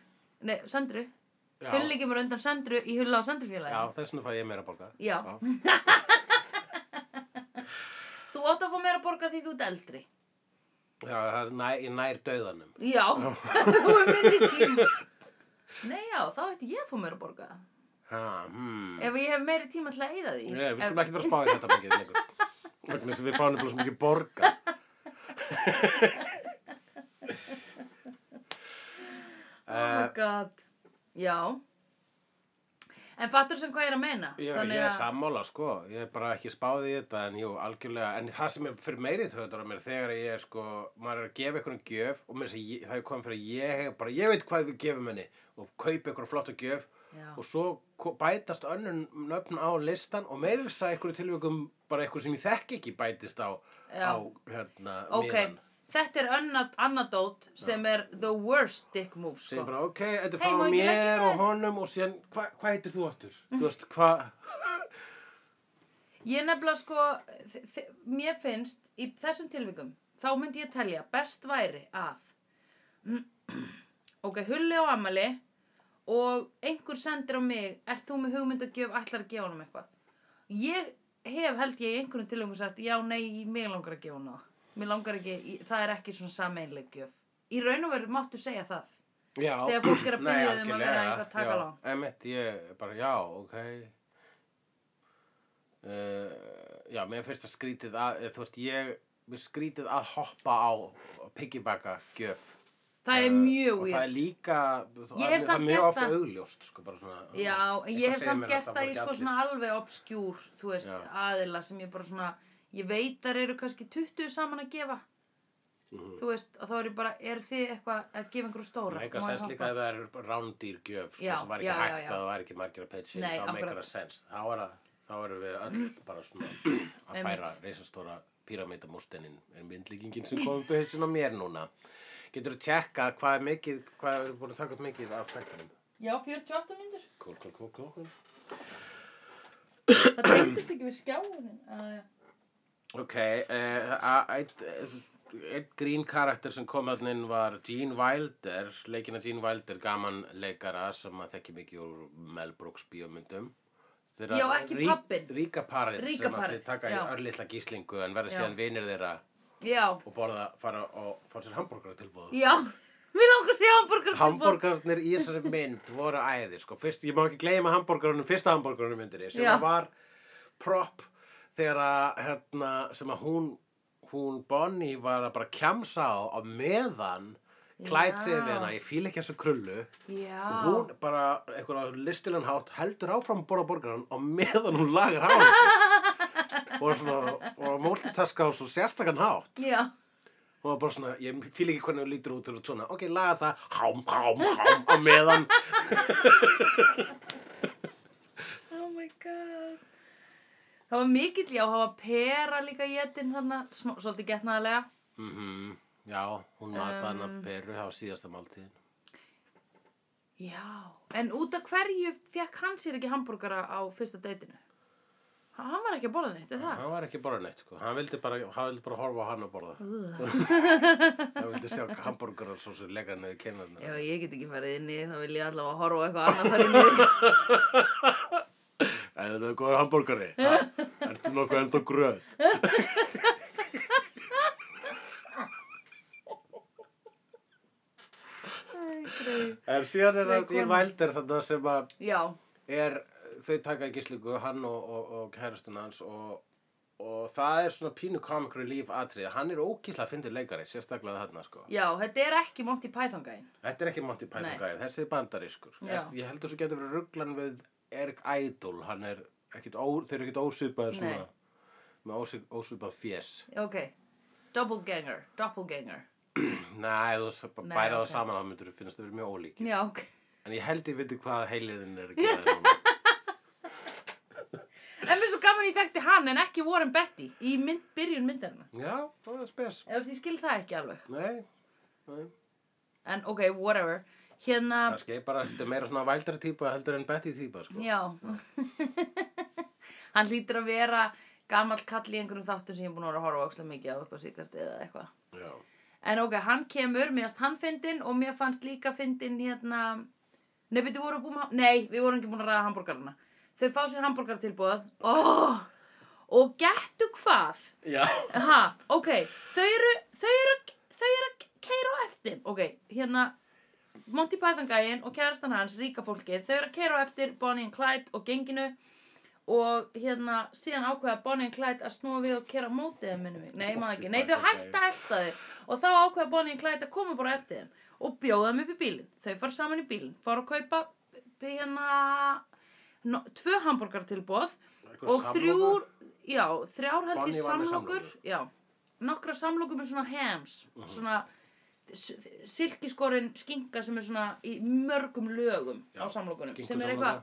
Speaker 2: nei, Söndru,
Speaker 1: já,
Speaker 2: Hulli kemur undan Söndru í Hulla á
Speaker 1: já
Speaker 2: Söndrufélaginu.
Speaker 1: þess vegna fæ ég meira borga
Speaker 2: Já. Þú átt að fá meira að borga því þú ert eldri.
Speaker 1: já það er nær, ég nær döðanum
Speaker 2: Já, þú er minni tíma. Nei, já, þá ætti ég að fá meira að borga það.
Speaker 1: ha, hmm.
Speaker 2: Ef ég hef meiri tíma til að eyða því
Speaker 1: Nei, við
Speaker 2: Ef-
Speaker 1: skulum ekki vera að spá í þetta mikið lengur. Vegna þess að við fáum nefnilega svo mikið borga.
Speaker 2: Oh
Speaker 1: Eh.
Speaker 2: my god Já En fattur sem hvað ég er að meina
Speaker 1: Ég,
Speaker 2: Þannig
Speaker 1: ég er
Speaker 2: að-
Speaker 1: sammála sko, ég er bara ekki spáð í þetta en jú, algjörlega, en það sem er fyrir meiri töðar á mér þegar ég er sko, maður er að gefa einhvern gjöf og mér sé ég- það er komið fyrir að ég hef bara, ég veit hvað við gefum henni og kaupi einhvern flotta gjöf
Speaker 2: Já.
Speaker 1: og svo ko- bætast önnur nöfn á listan og meiri þess að einhverju tilvægum bara einhver sem ég þekki ekki bætist á,
Speaker 2: Já.
Speaker 1: á hérna,
Speaker 2: Ok,
Speaker 1: miðann.
Speaker 2: þetta er annað anadót sem er the worst dick move sko.
Speaker 1: segir bara ok, þetta er
Speaker 2: Hey,
Speaker 1: frá
Speaker 2: má ekki leggja
Speaker 1: mér
Speaker 2: það? Mm.
Speaker 1: og honum og síðan, hva- hvað heitir þú aftur? þú veist, hvað
Speaker 2: Ég nefnilega sko þ- þ- mér finnst í þessum tilvikum þá myndi ég telja best væri að ok, hulli á amali og einhver sendir á mig ert þú með hugmynd að gef, ætlar að gefa honum eitthvað ég hef held ég í einhvern tilvikum sagt já, nei, mig langar að gefa honum það mér langar ekki, í- það er ekki svona sameinleg gjöf í raun og veru máttu segja það
Speaker 1: já,
Speaker 2: Þegar fólk er að
Speaker 1: nei,
Speaker 2: biðja þig um að vera
Speaker 1: algjörlega,
Speaker 2: eitthvað takalán.
Speaker 1: já, emitt, ég er bara, já, ok uh, já, mér finnst það skrítið að, eða, þú veist, ég mér skrítið að hoppa á piggybacka gjöf Eh,
Speaker 2: það er mjög
Speaker 1: og það er
Speaker 2: weird
Speaker 1: líka það,
Speaker 2: Ég hef
Speaker 1: það
Speaker 2: samt
Speaker 1: er
Speaker 2: gert
Speaker 1: mjög oft
Speaker 2: það.
Speaker 1: augljóst sko, bara svona,
Speaker 2: Já, en
Speaker 1: eitthvað
Speaker 2: ég hef
Speaker 1: segir
Speaker 2: samt
Speaker 1: mér það
Speaker 2: gert það
Speaker 1: voru
Speaker 2: í
Speaker 1: ekki
Speaker 2: sko
Speaker 1: allir.
Speaker 2: svona alveg obskjúr, þú veist,
Speaker 1: Já.
Speaker 2: aðila sem ég bara svona, ég veit þar eru kannski 20 saman að gefa,
Speaker 1: Mhm.
Speaker 2: þú veist, og þá er ég bara, er þið eitthvað að gefa einhverju stóra?
Speaker 1: meikar
Speaker 2: Má ég
Speaker 1: sens
Speaker 2: hoppa?
Speaker 1: líka ef það er rándýr gjöf sko,
Speaker 2: Já,
Speaker 1: sem var ekki
Speaker 2: já, já,
Speaker 1: hægt
Speaker 2: já.
Speaker 1: að það var ekki margir að peitsi
Speaker 2: Nei,
Speaker 1: þá
Speaker 2: akkurat.
Speaker 1: meikar það sens þá er að- þá erum við öll bara svona að
Speaker 2: Einmitt.
Speaker 1: færa reisastóra píramítamústenin er myndlíkingin sem komum bauðsinn á mér núna getur þú tjekka hvað er mikið hvað erum við búin að taka upp mikið af þættinum
Speaker 2: Já, 48 myndir.
Speaker 1: kól, kól, kól, kól, kól
Speaker 2: Það tengdist ekki við skjáunin. Uh,
Speaker 1: ok, eh, a- einn einn grín karakter sem kom hann inn var Gene Wilder leikina Gene Wilder, gaman leikara sem að þekki mikið úr Mel Brooks bíómyndum Þeirra
Speaker 2: Já, ekki
Speaker 1: rík-
Speaker 2: pabbinn.
Speaker 1: Ríka parið
Speaker 2: Ríka
Speaker 1: sem að
Speaker 2: parið,
Speaker 1: þeir taka í
Speaker 2: já.
Speaker 1: örlitla gíslingu en verða
Speaker 2: Já.
Speaker 1: síðan vinir þeirra
Speaker 2: já,
Speaker 1: og borða, fara og fá sér hambúrgara tilbúð
Speaker 2: já, við langar að segja hambúrgar.
Speaker 1: Hambúrgarnir í þessari mynd voru æðir sko. Fyrst, ég má ekki gleyma hambúrgarunum fyrsta hambúrgarunum myndinni sem
Speaker 2: Já.
Speaker 1: var prop þegar að, hérna, sem að hún hún Bonnie var að bara kjamsa á á meðan klætt sig við
Speaker 2: Já.
Speaker 1: hana, ég fíl ekki þessu krullu
Speaker 2: Já,
Speaker 1: og hún bara eitthvað listilegan hátt heldur áfram að borða borgaran á meðan hún lagar hárið sitt og er svona, og múltitaska á svo sérstakann hátt
Speaker 2: já,
Speaker 1: og var bara svona, ég fíl ekki hvernig þú lítur út og svona, ok, laga það, hám, hám, hám á meðan,
Speaker 2: oh my god. Það var mikill, já, það var pera líka getinn þarna, smá- svolítið getnaðarlega.
Speaker 1: mhm, já, hún mataði hann af
Speaker 2: Um.
Speaker 1: beru, það var síðasta máltíðin
Speaker 2: Já, en út af hverju fekk hann sér ekki hambúrgara á fyrsta deytinu? Ha- Hann var ekki að borða neitt, er það?
Speaker 1: hann var ekki bara neitt, sko, hann vildi bara hann vildi bara horfa á hann og borða
Speaker 2: Ugh.
Speaker 1: hann vildi sjá hambúrgarar svo sem lega neðu kennarnar
Speaker 2: Ef ég get ekki farið inni, þá vil ég allavega horfa á eitthvað annað þar inni.
Speaker 1: en þetta er góður hambúrgari, ha, ertu nokkuð ennþá gröð
Speaker 2: grey.
Speaker 1: En síðan er
Speaker 2: Grey
Speaker 1: það í
Speaker 2: kona.
Speaker 1: Vælder þarna sem að
Speaker 2: Já,
Speaker 1: er, þau taka í gíslingu, hann og, og, og kærastun hans og, og það er svona pínu comic relief atrið. Hann er ókýrlega að fyndi leikari, sérstaklega þarna sko.
Speaker 2: já, þetta er ekki Monty Python gæn.
Speaker 1: Þetta er ekki Monty Python
Speaker 2: Nei.
Speaker 1: gæðir, þessi er bandarískur.
Speaker 2: Já.
Speaker 1: Er- Ég heldur svo getur verið rugglan við Eric Idol, hann er ekkit ó, þeir eru ekkit ósvipaðir svona,
Speaker 2: Nei.
Speaker 1: með ósvip, ósvipað fjés.
Speaker 2: Ok, doppelganger, doppelganger.
Speaker 1: Nei, þú veist, bara
Speaker 2: Nei,
Speaker 1: bæra
Speaker 2: ok.
Speaker 1: það saman þá myndur þú finnast það verið mjög ólíkir.
Speaker 2: Já, ok.
Speaker 1: En ég held ég viti hvað heiliðin er að gera þér núna.
Speaker 2: En mér er svo gaman ég þekkti hann en ekki Warren Betty í mynd, byrjun myndarinnar.
Speaker 1: Já, það er spes.
Speaker 2: Ef því skil það ekki alveg.
Speaker 1: Nei, nei.
Speaker 2: En ok, whatever. Hérna...
Speaker 1: Kannski er bara þetta er meira svona vældari típa heldur en Betty típa, sko.
Speaker 2: Já. hann hlýtur að vera gamall kall í einhverjum þáttum sem ég er búin að vera að horfa ókslega mikið á upp á síkast eða eitthvað.
Speaker 1: Já.
Speaker 2: En ok, hann kemur, mér fannst hann fyndin og mér fannst líka fyndin hérna... Nei, við vorum búin að... Nei, við vorum ekki búin að ræða hambúrgarna. Þau fá sér hambúrgartilbúð. Oh! Og gettu hvað?
Speaker 1: Já.
Speaker 2: Ha, ok, þau eru, þau eru, þau eru að keira á eftir. Ok, hérna, Monty Python gæinn og kærastan hans, ríka fólkið, þau eru að keira á eftir Bonnie and Clyde og genginu og hérna, síðan ákveða Bonnie and Clyde að snúa við og keira á mótið þeim, minnum við. Nei, ég maður ekki. Nei, þau hætta að elta þau og þá ákveða Bonnie and Clyde að koma bara á eftir þeim og bjóða þeim upp í bílinn. Þau fara saman í bílinn, fara að kaupa, hérna, no, tvö hambúrgartilbóð og þrjúr, já, þrjár held ég
Speaker 1: Bonnie var með
Speaker 2: samlokur
Speaker 1: samlokur. Mhm.
Speaker 2: já, nokkra samlokur með svona hams svona s- silkiskorin skinka sem er svona í mörgum lögum á samlokunum sem er eitthvað,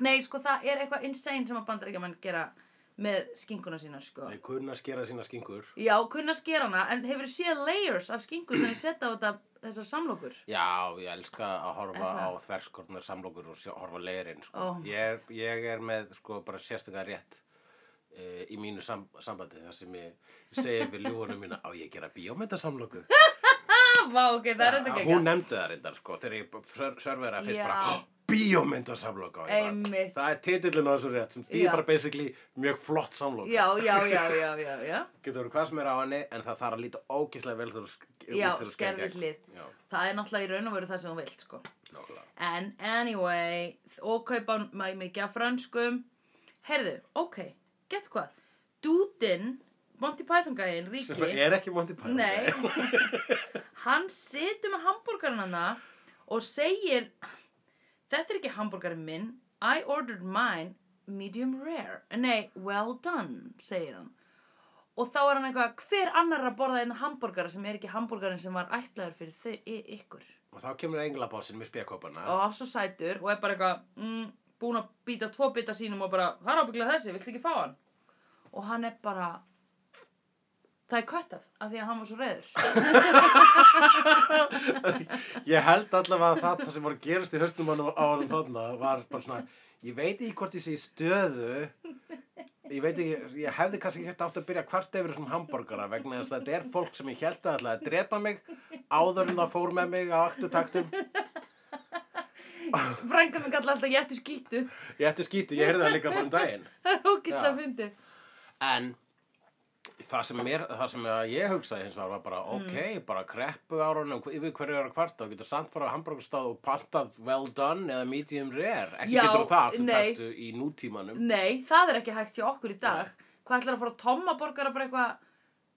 Speaker 2: nei sko það er eitthvað insane sem að bandaríkjaman gera með skinkuna sína sko
Speaker 1: Þeir kunna að skera sína skingur.
Speaker 2: já, kunna skera hana, en hefur séð layers af skinku sem ég setja á þetta þessar samlokur
Speaker 1: Já, ég elska að horfa
Speaker 2: Er
Speaker 1: á
Speaker 2: það?
Speaker 1: þverskornar samlokur og sjá, horfa leirinn sko.
Speaker 2: Oh my
Speaker 1: ég, er, ég er með sko, bara sérstaklega rétt uh, í mínu sam sambandi þar sem ég segi við ljúanum mína á ég að gera bíómyndasamloku
Speaker 2: ah, vá, ok, það er þetta ekki
Speaker 1: Hún nefndi það reyndar sko, þegar ég sörfæra fyrst
Speaker 2: Já.
Speaker 1: bara "Hó, bíómyndasamloka og ég bara,
Speaker 2: Einmitt.
Speaker 1: Það er titillin á þessu rétt sem því
Speaker 2: Já.
Speaker 1: er bara basically mjög flott samloka
Speaker 2: já, já, já, já, já, já
Speaker 1: Getur verið hvað sem er á henni en það þarf að líta ógislega vel þegar þú sk-
Speaker 2: Já,
Speaker 1: þegar þú sker
Speaker 2: skerðu
Speaker 1: gegn.
Speaker 2: hlið.
Speaker 1: Já,
Speaker 2: það er náttúrulega í raun og veru það sem hún vilt sko
Speaker 1: nákvæmlega
Speaker 2: En anyway, og kaupa mæ mikið af franskum. Herðu, ok, gett hvað. Dúdinn, Monty Python gæðin,
Speaker 1: Sem
Speaker 2: Ríki,
Speaker 1: er ekki Monty Python
Speaker 2: Nei.
Speaker 1: gæi.
Speaker 2: hann situr með hambúrgarinn hana og segir, þetta er ekki hambúrgarinn minn, I ordered mine medium rare. Nei, well done, segir hann. Og þá er hann eitthvað, hver annar er að borða einn hambúrgara sem er ekki hambúrgarinn sem var ætlaður fyrir þau, y- ykkur?
Speaker 1: Og þá kemur englabásinn með spjakopana.
Speaker 2: og var svo sætur og er bara eitthvað mm, búin að býta tvo bita sínum og bara, það er ábygglega þessi, viltu ekki fá hann? Og hann er bara það er köttað af því að hann var svo reyður
Speaker 1: Ég held allavega að það- það sem var að gerast í höstum hann á hann þarna var bara svona, ég veit ekki hvort ég sé í stöðu, ég veit ekki, ég hefði kannski ekki átt að byrja hvart yfir þessum hambúrgara vegna þess að þetta er fólk sem ég held að allavega að drepa mig áður en það fór með mig á aktutaktum.
Speaker 2: frænka minn kallar alltaf jættu skýttu
Speaker 1: Ég ætti skýtu, ég heyrði það líka bara um daginn.
Speaker 2: það er ógist
Speaker 1: Já.
Speaker 2: að fyndi
Speaker 1: En það sem, mér, það sem að ég hugsaði hins vegar var bara
Speaker 2: Mm.
Speaker 1: ok, bara kreppu árunum yfir hverju ára kvarta og getur samt fara á hambúrgarstað og pantað well done eða medium rare. Ekki
Speaker 2: Já,
Speaker 1: getur það aftur
Speaker 2: nei.
Speaker 1: taktu í nútímanum.
Speaker 2: nei, það er ekki hægt hjá okkur í dag hvað ætlar að fara að tomma borgara bara eitthvað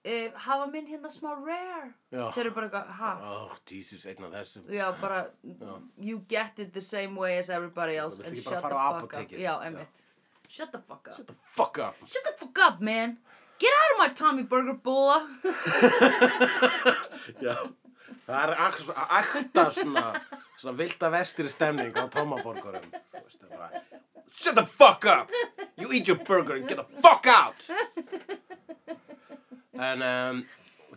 Speaker 2: e, hafa minn hérna smá rare
Speaker 1: Já.
Speaker 2: þeir eru bara eitthvað, ha
Speaker 1: Oh, Jesus, einn af þessum.
Speaker 2: Já, bara, you get it the same way as everybody else
Speaker 1: Þú
Speaker 2: and
Speaker 1: vilt ekki
Speaker 2: shut the
Speaker 1: bara
Speaker 2: fuck
Speaker 1: fara á
Speaker 2: up.
Speaker 1: apótekið.
Speaker 2: Já,
Speaker 1: Já.
Speaker 2: einmitt. Shut the fuck up.
Speaker 1: Fuck up.
Speaker 2: Shut the fuck up, man. Get out of my Tommy Burger bulla.
Speaker 1: Já. Það er ak- svo- akta svona, svona vilda vestri stemning á tómaborgurum. Þú veist, það er bara, Shut the fuck up! You eat your burger and get the fuck out! En um,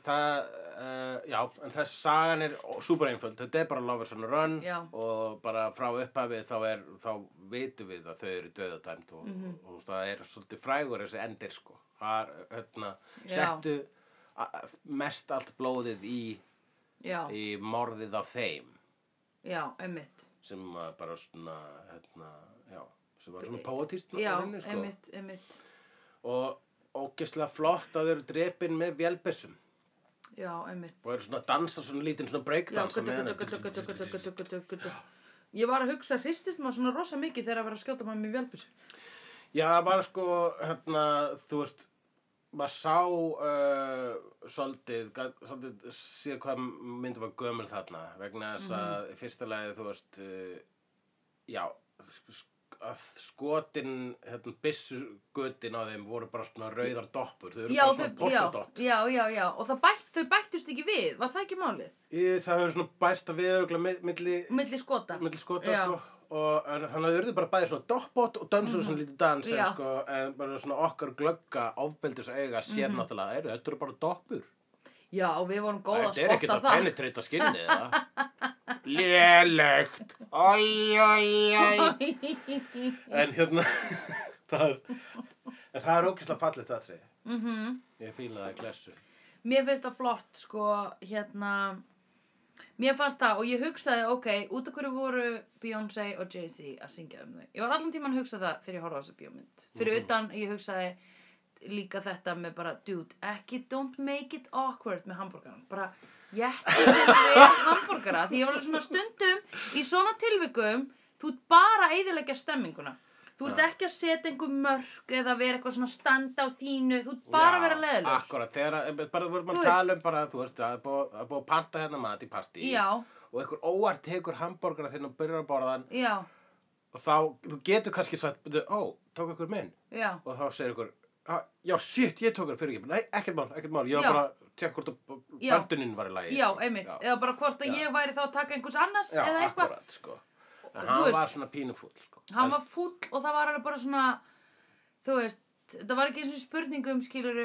Speaker 1: það, uh, já, en þessi sagan er súper einföld. Þetta er bara Lovers on a Run
Speaker 2: Já.
Speaker 1: og bara frá upphafið þá, er, þá vitum við að þau eru döðadæmt og, og, það er svolítið frægur þessi endir sko. Það er, hérna,
Speaker 2: Já.
Speaker 1: settu a- a- mest allt blóðið í
Speaker 2: Já,
Speaker 1: í morðið á þeim
Speaker 2: já, einmitt.
Speaker 1: sem að bara svona hérna, já, sem var svona poetist
Speaker 2: Já, einmitt, einmitt.
Speaker 1: og ógeðslega flott að þau eru drepin með vélbessum
Speaker 2: já, einmitt
Speaker 1: og eru svona að dansa svona lítinn svona
Speaker 2: já,
Speaker 1: breakdance á
Speaker 2: guttu,
Speaker 1: meðan-
Speaker 2: guttu, guttu, guttu, guttu, guttu, guttu, guttu ég var að hugsa, hristist maður svona rosa mikið þegar að vera að skjóta maður með vélbísu
Speaker 1: Já, það var sko, hérna, þú veist, maður sá uh, svolítið, gat, svolítið síðan hvað myndum var gömul þarna, vegna þess
Speaker 2: Mhm.
Speaker 1: að í fyrsta lagi, þú veist, uh, já, sk- sk- að skotin, hérna, byssugötin á þeim voru bara svona rauðar doppur, þau eru
Speaker 2: já,
Speaker 1: bara svona
Speaker 2: þau, já,
Speaker 1: polkadott.
Speaker 2: já, já, já og það bætt, þau bættust ekki við, var það ekki málið?
Speaker 1: Í- Það hefur svona bæst að við örgulega milli,
Speaker 2: milli skota
Speaker 1: milli skota,
Speaker 2: Já.
Speaker 1: sko. Og, en, þannig að þau urðu bara bæði svona doppot og dansa svona lítið dans en,
Speaker 2: Mhm. Já.
Speaker 1: sko, en bara svona okkar glögga ofbeldis auga sér
Speaker 2: Mhm.
Speaker 1: náttúrulega eru, þetta eru bara doppur
Speaker 2: já, og við vorum góð að
Speaker 1: Þetta er ekkert
Speaker 2: spotta
Speaker 1: að
Speaker 2: það
Speaker 1: penetrita skinnið það Lélegt Æj, æj, æj En hérna það er, En það er ógeðslega fallið það tri
Speaker 2: Mhm.
Speaker 1: Ég fíla það í klessu
Speaker 2: mér finnst það flott sko hérna mér fannst það og ég hugsaði ok út af hverju voru Beyoncé og Jay-Z að syngja um þau ég var allan tíman að hugsa það fyrir að horfa á þessu bjómynd fyrir
Speaker 1: Mhm.
Speaker 2: utan ég hugsaði líka þetta með bara dude ekki don't make it awkward með hambúrgaran bara jætti við hambúrgara því ég var alveg svona stundum í svona tilvikum þú ert bara að eyðileggja stemminguna þú ert
Speaker 1: Já.
Speaker 2: ekki að setja einhver mörg eða vera eitthvað svona standa á þínu þú ert bara að vera leðilegur
Speaker 1: Akkurat, þegar að, einmitt, bara vorum
Speaker 2: Þú
Speaker 1: að
Speaker 2: veist.
Speaker 1: tala um bara Þú veist, það er búið- það er búið að panta hérna mat í partí
Speaker 2: Já,
Speaker 1: Og einhver óvart tekur hambúrgara þinn og byrjar að borða hann
Speaker 2: já,
Speaker 1: Og þá, þú getur kannski sagt "Bíddu, Ó, tók einhver minn
Speaker 2: já,
Speaker 1: Og þá segir einhver "Ah, Já, shit, ég tók hann fyrir ekki Nei, ekkert mál, ekkert mál Ég
Speaker 2: Já.
Speaker 1: var bara að tjekka hvort að
Speaker 2: Já.
Speaker 1: banduninn var í lagi
Speaker 2: já,
Speaker 1: sko.
Speaker 2: einmitt
Speaker 1: Já.
Speaker 2: eða bara hvort að
Speaker 1: Já.
Speaker 2: ég væri þá að taka einhvers annars
Speaker 1: Já,
Speaker 2: eða eitthvað,
Speaker 1: akkurat, sko. En
Speaker 2: Þú
Speaker 1: hann
Speaker 2: veist-
Speaker 1: var svona pínufúll, sko.
Speaker 2: hann var fúll og það var alveg bara svona þú veist, það var ekki eins og spurningum skilur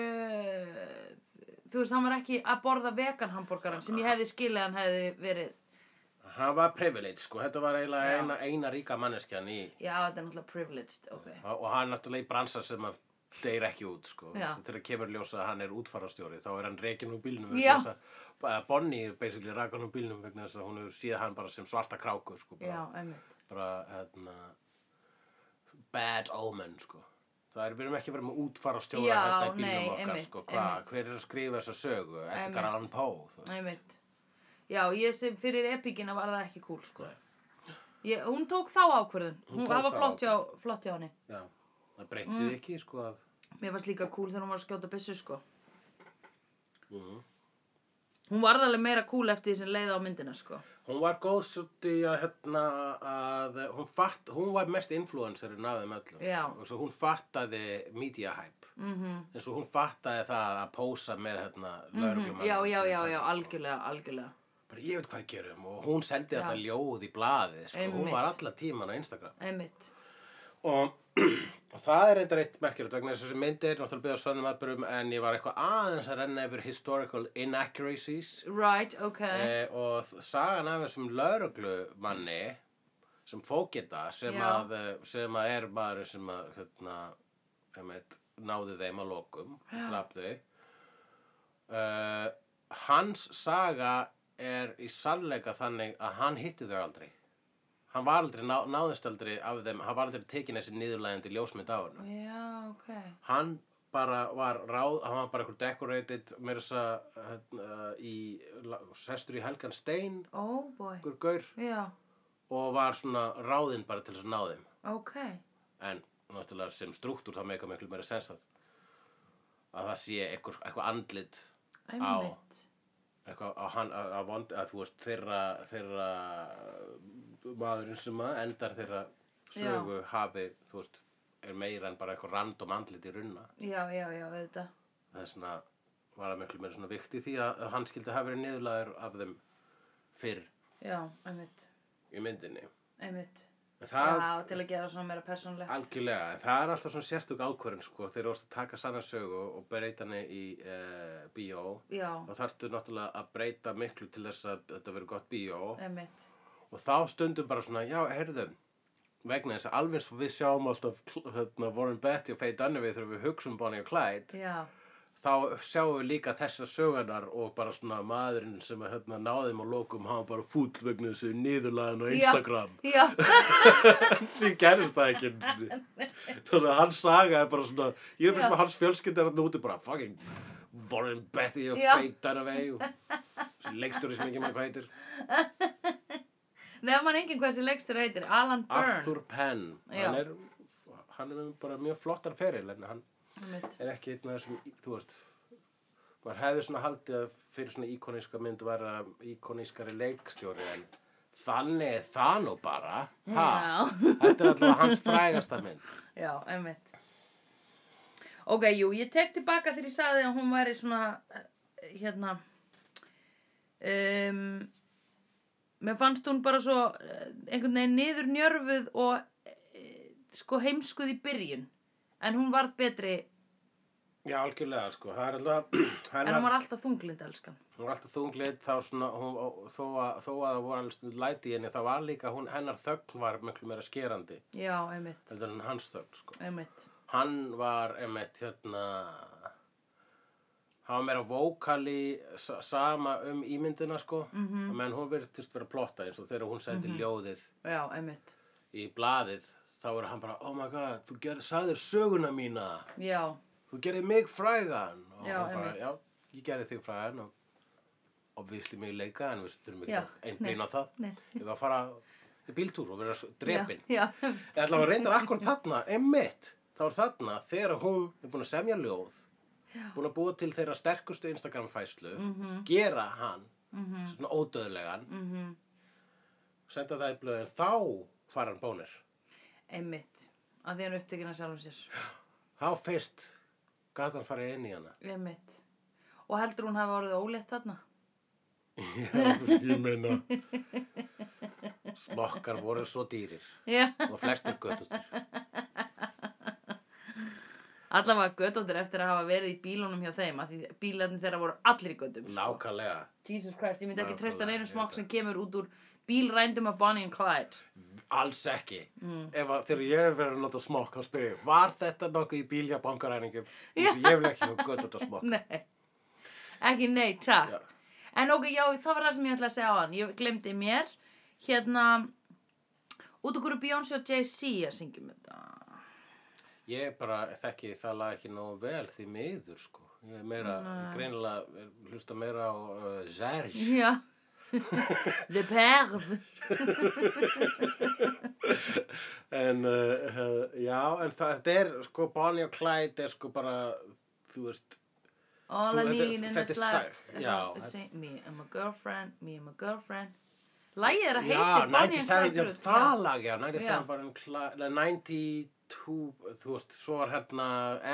Speaker 2: þú veist, hann var ekki að borða vegan hambúrgaran sem ég hefði skilið að hann hefði verið
Speaker 1: Hann var privilege, sko. Þetta var eiginlega
Speaker 2: Já.
Speaker 1: eina, eina ríka manneskjan í...
Speaker 2: já, þetta er náttúrulega privileged, ok
Speaker 1: Og hann náttúrulega í bransa sem að deyr ekki út, sko.
Speaker 2: Já.
Speaker 1: Svo Þegar kemur ljósa að hann er útfarastjóri, þá er hann rekin úr bílnum.
Speaker 2: Já.
Speaker 1: vegna þess að- að Bonnie er basically rakan úr bílnum vegna þess að hún hefur séð hann bara sem svarta kráku, sko. Bara,
Speaker 2: já, einmitt,
Speaker 1: bara, hérna, bad omen, sko. Það er, við erum ekki verið með útfarastjóra
Speaker 2: Já,
Speaker 1: hérna í bílnum
Speaker 2: nei,
Speaker 1: okkar,
Speaker 2: einmitt,
Speaker 1: sko. Hva,
Speaker 2: einmitt.
Speaker 1: hver er að skrifa þessa sögu? Edgar
Speaker 2: Einmitt.
Speaker 1: Allan Poe, þú veist.
Speaker 2: einmitt já, ég sem fyrir epíkina var það ekki cool sko.
Speaker 1: Nei.
Speaker 2: ég, hún tók þá ákvörðun
Speaker 1: Hún
Speaker 2: hún,
Speaker 1: tók
Speaker 2: það var
Speaker 1: þá
Speaker 2: flott hjá, flott hjá henni
Speaker 1: Já, það breytið mm. ekki sko að
Speaker 2: mér fannst líka cool þegar hún var að skjóta byssu sko Hún varð alveg meira cool eftir því sem leiði á myndina, sko.
Speaker 1: Hún var góð svolítið að hérna að hún fatt, hún var mest influencerinn af þeim öllum sko.
Speaker 2: Já.
Speaker 1: og svo hún fattaði media hype
Speaker 2: Mm
Speaker 1: en svo hún fattaði það að pósa með hérna lögreglumanninn
Speaker 2: Mhm. Já, já,
Speaker 1: sem sko.
Speaker 2: já,
Speaker 1: tækir.
Speaker 2: já, algjörlega, algjörlega.
Speaker 1: Bara ég veit hvað ég gerum og hún sendi
Speaker 2: Já.
Speaker 1: þetta ljóð í blaði sko,
Speaker 2: Einmitt.
Speaker 1: hún var alla tíman á Instagram
Speaker 2: Einmitt.
Speaker 1: og, og það er reyndar eitt merkilegt vegna þess að þessi myndi er náttúrulega byggða svonum aðbyrjum en ég var eitthvað aðeins að renna yfir historical inaccuracies
Speaker 2: Right, ok.
Speaker 1: Eh, og þ- sagan af þessum lauruglumanni sem fókita sem,
Speaker 2: Já.
Speaker 1: að, eh, sem að er maður sem að hérna, einmitt, náði þeim að lokum
Speaker 2: Já.
Speaker 1: og draf þau uh, hans saga er í sannleika þannig að hann hitti þau aldrei hann var aldrei, ná, náðist aldrei af þeim hann var aldrei tekin þessi niðurlægandi ljósmynd á hann
Speaker 2: Já, ok.
Speaker 1: hann bara var ráð, hann var bara eitthvað decorated meira þess að hérna, í, la- sestur í Helgan Stein
Speaker 2: Oh boy.
Speaker 1: einhver gaur
Speaker 2: Já,
Speaker 1: og var svona ráðinn bara til þess að ná þeim
Speaker 2: ok.
Speaker 1: en náttúrulega sem struktúr þá meika miklu meira sens að að það sé einhver, eitthvað andlit
Speaker 2: Einmitt.
Speaker 1: eitthvað að, hann, að, að, vond, að þú veist þeirra, þeirra uh, maðurinn sem að endar þeirra sögu hafi þú veist er meira en bara eitthvað random andlit í runna
Speaker 2: Já, já, já, auðvitað.
Speaker 1: þess vegna var það miklu meira svona vikt í því að að hann skildi hafa verið niðurlaður af þeim fyrr
Speaker 2: Já, einmitt.
Speaker 1: í myndinni
Speaker 2: Einmitt.
Speaker 1: En það,
Speaker 2: Já, til að gera svona meira persónlegt.
Speaker 1: algjörlega, en það er alltaf svona sérstök ákvörðin sko, þegar þú ert að taka sanna sögu og breyta henni í uh, bíó
Speaker 2: Já,
Speaker 1: þá þarftu náttúrulega að breyta miklu til þess að þetta verið gott bíó
Speaker 2: einmitt.
Speaker 1: og þá stundum bara svona, já, heyrðum vegna þess að alveg svo við sjáum alltaf hérna, Warren Betty og Faye Dunaway þegar við hugsa um Bonnie og Clyde
Speaker 2: Já,
Speaker 1: þá sjáum við líka þessar sögunar og bara svona maðurinn sem að, hérna, náðum og lokum hafa bara fúll vegna þessu niðurlaðin á Instagram
Speaker 2: já,
Speaker 1: sem gerist það ekki einu sinni. þannig að hans saga er bara svona ég er fyrir
Speaker 2: Já.
Speaker 1: sem að hans fjölskylda er hann úti bara fucking Warren Betty og
Speaker 2: Já.
Speaker 1: Faye Dunaway og þessi leikstjóri sem ekki maður hvað heitir
Speaker 2: Nefnum hann enginn hvað þessi leikstur heitir, Alan Byrne.
Speaker 1: Arthur Penn hann
Speaker 2: Já.
Speaker 1: er, hann er með bara mjög flottan feril en hann
Speaker 2: Arthur.
Speaker 1: er ekki einn af þessum, þú veist maður hefði svona haldið að fyrir svona íkoníska mynd var að íkonískari leikstjóri en þannig er það nú bara ha,
Speaker 2: Já.
Speaker 1: þetta er alltaf hans frægasta mynd
Speaker 2: Já, einmitt. Ok, jú, ég tek tilbaka þegar ég sagði að hún væri svona, eh, hérna, um, mér fannst hún bara svo eh, einhvern veginn niður njörfuð og eh, sko heimskuð í byrjun. En hún varð betri,
Speaker 1: já, algjörlega sko, það er alltaf
Speaker 2: en hún var alltaf þunglind, elskan.
Speaker 1: hún var alltaf þunglið þá svona, hún, og- þó, að, þó að það voru alveg stundum læti í henni það var líka, hún, hennar þögn var miklu meira skerandi
Speaker 2: Já, einmitt,
Speaker 1: heldur en hans þögn sko.
Speaker 2: einmitt.
Speaker 1: hann var einmitt hérna hann var meira vókali sa- sama um ímyndina sko
Speaker 2: Mhm.
Speaker 1: menn hún virtist vera að plotta eins og þegar hún sendi ljóðið
Speaker 2: Já, einmitt.
Speaker 1: í blaðið þá er hann bara, oh my god, þú ger, sagðir söguna mína
Speaker 2: Já,
Speaker 1: þú gerði mig frægan og
Speaker 2: Já,
Speaker 1: hann bara,
Speaker 2: einmitt.
Speaker 1: já, ég gerði þig frægan og obvísli mig leika en við þurfum ekki
Speaker 2: Já,
Speaker 1: að
Speaker 2: nei,
Speaker 1: einblýna á það
Speaker 2: nei.
Speaker 1: ég var að fara í bíltúr og vera s- drepin
Speaker 2: Já, já, einmitt.
Speaker 1: Það var reyndar akkur þarna, emmitt, þá var þarna þegar hún er búin að semja ljóð, búin að búa til þeirra sterkustu Instagram fæslu,
Speaker 2: Mm.
Speaker 1: gera hann, svona ódöðlegan,
Speaker 2: Mhm.
Speaker 1: senda það í blöðin, þá fara hann bónir.
Speaker 2: Einmitt. Að því hann upptekina sjálfum sér.
Speaker 1: Þá fyrst gat hann farið inn í hana.
Speaker 2: Einmitt. Og heldur hún hafi orðið ólétt þarna?
Speaker 1: ég meina, smokkar voru svo dýrir
Speaker 2: Já.
Speaker 1: og flestir göttutir.
Speaker 2: Allavega göttóttir eftir að hafa verið í bílunum hjá þeim að því bílarnir þeirra voru allir í göttum sko.
Speaker 1: Nákvæmlega,
Speaker 2: Jesus Christ, ég myndi ekki
Speaker 1: Nákvæmlega,
Speaker 2: treysta neinu
Speaker 1: ég veit
Speaker 2: smokk
Speaker 1: það.
Speaker 2: sem kemur út úr bílrændum af Bonnie and Clyde Mm.
Speaker 1: alls ekki. Ef að þegar ég er verið að nota smokk, þá spyrir ég, var þetta nokkuð í bílja bankaræningum? Ég vil ekki hafa göttut að smokk.
Speaker 2: Nei, ekki nei, takk
Speaker 1: Já.
Speaker 2: En ok, já, það var það sem ég ætlaði að segja á hann Ég glemdi mér Hérna Út okkur er Beyoncé og Jay-Z að syngjum þetta
Speaker 1: Ég bara þekki það lag ekki nógu vel því miður sko. Ég er meira,
Speaker 2: Nei.
Speaker 1: greinilega er- hlusta meira á uh, Zerj.
Speaker 2: Já The Perv
Speaker 1: En uh, uh, já, en það, þetta er sko Bonnie og Clyde er sko bara, þú veist,
Speaker 2: All
Speaker 1: Þú-
Speaker 2: I
Speaker 1: þetta-
Speaker 2: need in
Speaker 1: þetta
Speaker 2: this
Speaker 1: er
Speaker 2: life
Speaker 1: sæ- já.
Speaker 2: is a- Me and my girlfriend, me and my girlfriend Lægið er að heiti
Speaker 1: já,
Speaker 2: Bonnie and
Speaker 1: 97,
Speaker 2: Clyde
Speaker 1: já,
Speaker 2: Group. Já.
Speaker 1: það lag, já, 97
Speaker 2: Já.
Speaker 1: bara en Clyde, nei, 92, þú veist, svo var hérna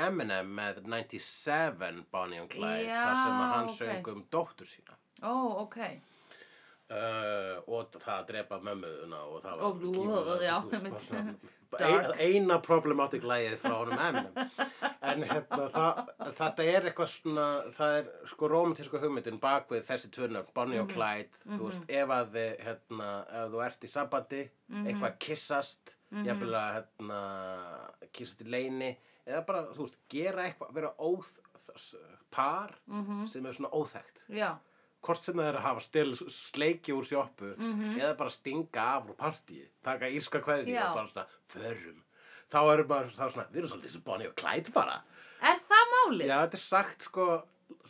Speaker 1: Eminem með 97 Bonnie og Clyde,
Speaker 2: Já,
Speaker 1: þar sem að hann
Speaker 2: ok.
Speaker 1: söng um dóttur sína.
Speaker 2: Ó, ok.
Speaker 1: Uh, og það að drepa mömmuðuna og það var
Speaker 2: Og blú,
Speaker 1: gífurlega-
Speaker 2: já,
Speaker 1: þú veist,
Speaker 2: einmitt.
Speaker 1: bara svona-
Speaker 2: Dark.
Speaker 1: bara ein, eina problematic lægið frá honum Eminem en hérna, það, þetta er eitthvað svona það er sko romantísku hugmyndin bakvið þessi tvunum, Bonnie
Speaker 2: Mhm.
Speaker 1: og Clyde þú veist, ef að þið, hérna, ef þú ert í sabbati,
Speaker 2: Mm-hmm, Mhm.
Speaker 1: eitthvað kissast jafnvel að hérna, kissast í leini eða bara, þú veist, gera eitthvað vera óþ par
Speaker 2: Mhm.
Speaker 1: sem er svona óþekkt
Speaker 2: mm-hmm. Já,
Speaker 1: hvort sem það er að hafa stil sleiki úr sjoppu eða bara stinga af úr partíi taka írska kveði
Speaker 2: Mhm. Já.
Speaker 1: og bara svona förum þá erum bara þá er svona, við erum svolítið sem Bonnie og Clyde bara
Speaker 2: er það málið?
Speaker 1: já, þetta er sagt sko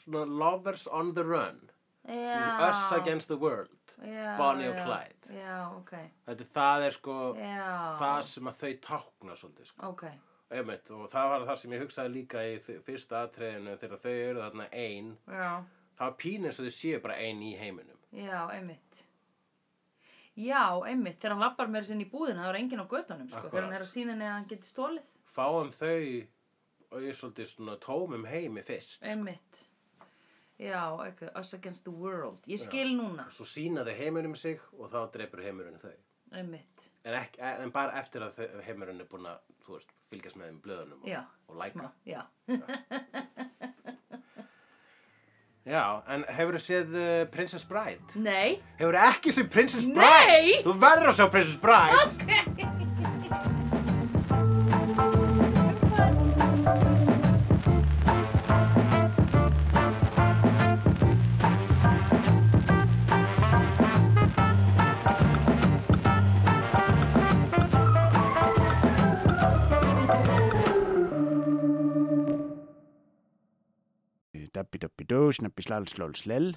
Speaker 1: svona lovers on the run Mm,
Speaker 2: Já.
Speaker 1: us against the world
Speaker 2: Já,
Speaker 1: Bonnie og
Speaker 2: já.
Speaker 1: Clyde.
Speaker 2: Já, ok.
Speaker 1: þetta er- það er sko
Speaker 2: Já.
Speaker 1: það sem að þau tákna svolítið sko.
Speaker 2: Ok.
Speaker 1: Einmitt, og það var það sem ég hugsaði líka í þ- fyrsta atriðinu þegar þau eru þarna ein
Speaker 2: Já,
Speaker 1: það var pín eins og þau séu bara ein í heiminum
Speaker 2: já, einmitt. Já, einmitt. Þegar hann lappar mér sinni í búðina, það er enginn á götunum, sko.
Speaker 1: Akkúrat.
Speaker 2: Þegar hann er að sína henni að hann geti stólið.
Speaker 1: fáum þau og ég er svolítið svona tómum heimi fyrst
Speaker 2: Einmitt. Já, ok. Us against the world. Ég skil núna.
Speaker 1: svo sína þau heiminum sig og þá drepur heimurinn þau
Speaker 2: Einmitt.
Speaker 1: en, ekki, en bara eftir að þau- heimurinn er búin að þú veist, fylgjast með þeim í blöðunum og,
Speaker 2: Já.
Speaker 1: og læka
Speaker 2: Smá, Já.
Speaker 1: Já, en hefur þau séð uh, Princess Bride?
Speaker 2: Nei.
Speaker 1: Hefur þau ekki séð Princess
Speaker 2: Nei!
Speaker 1: Bride? Þú verður að sjá Princess Bride
Speaker 3: snabbi-dú, snabbi-slal, slól, slell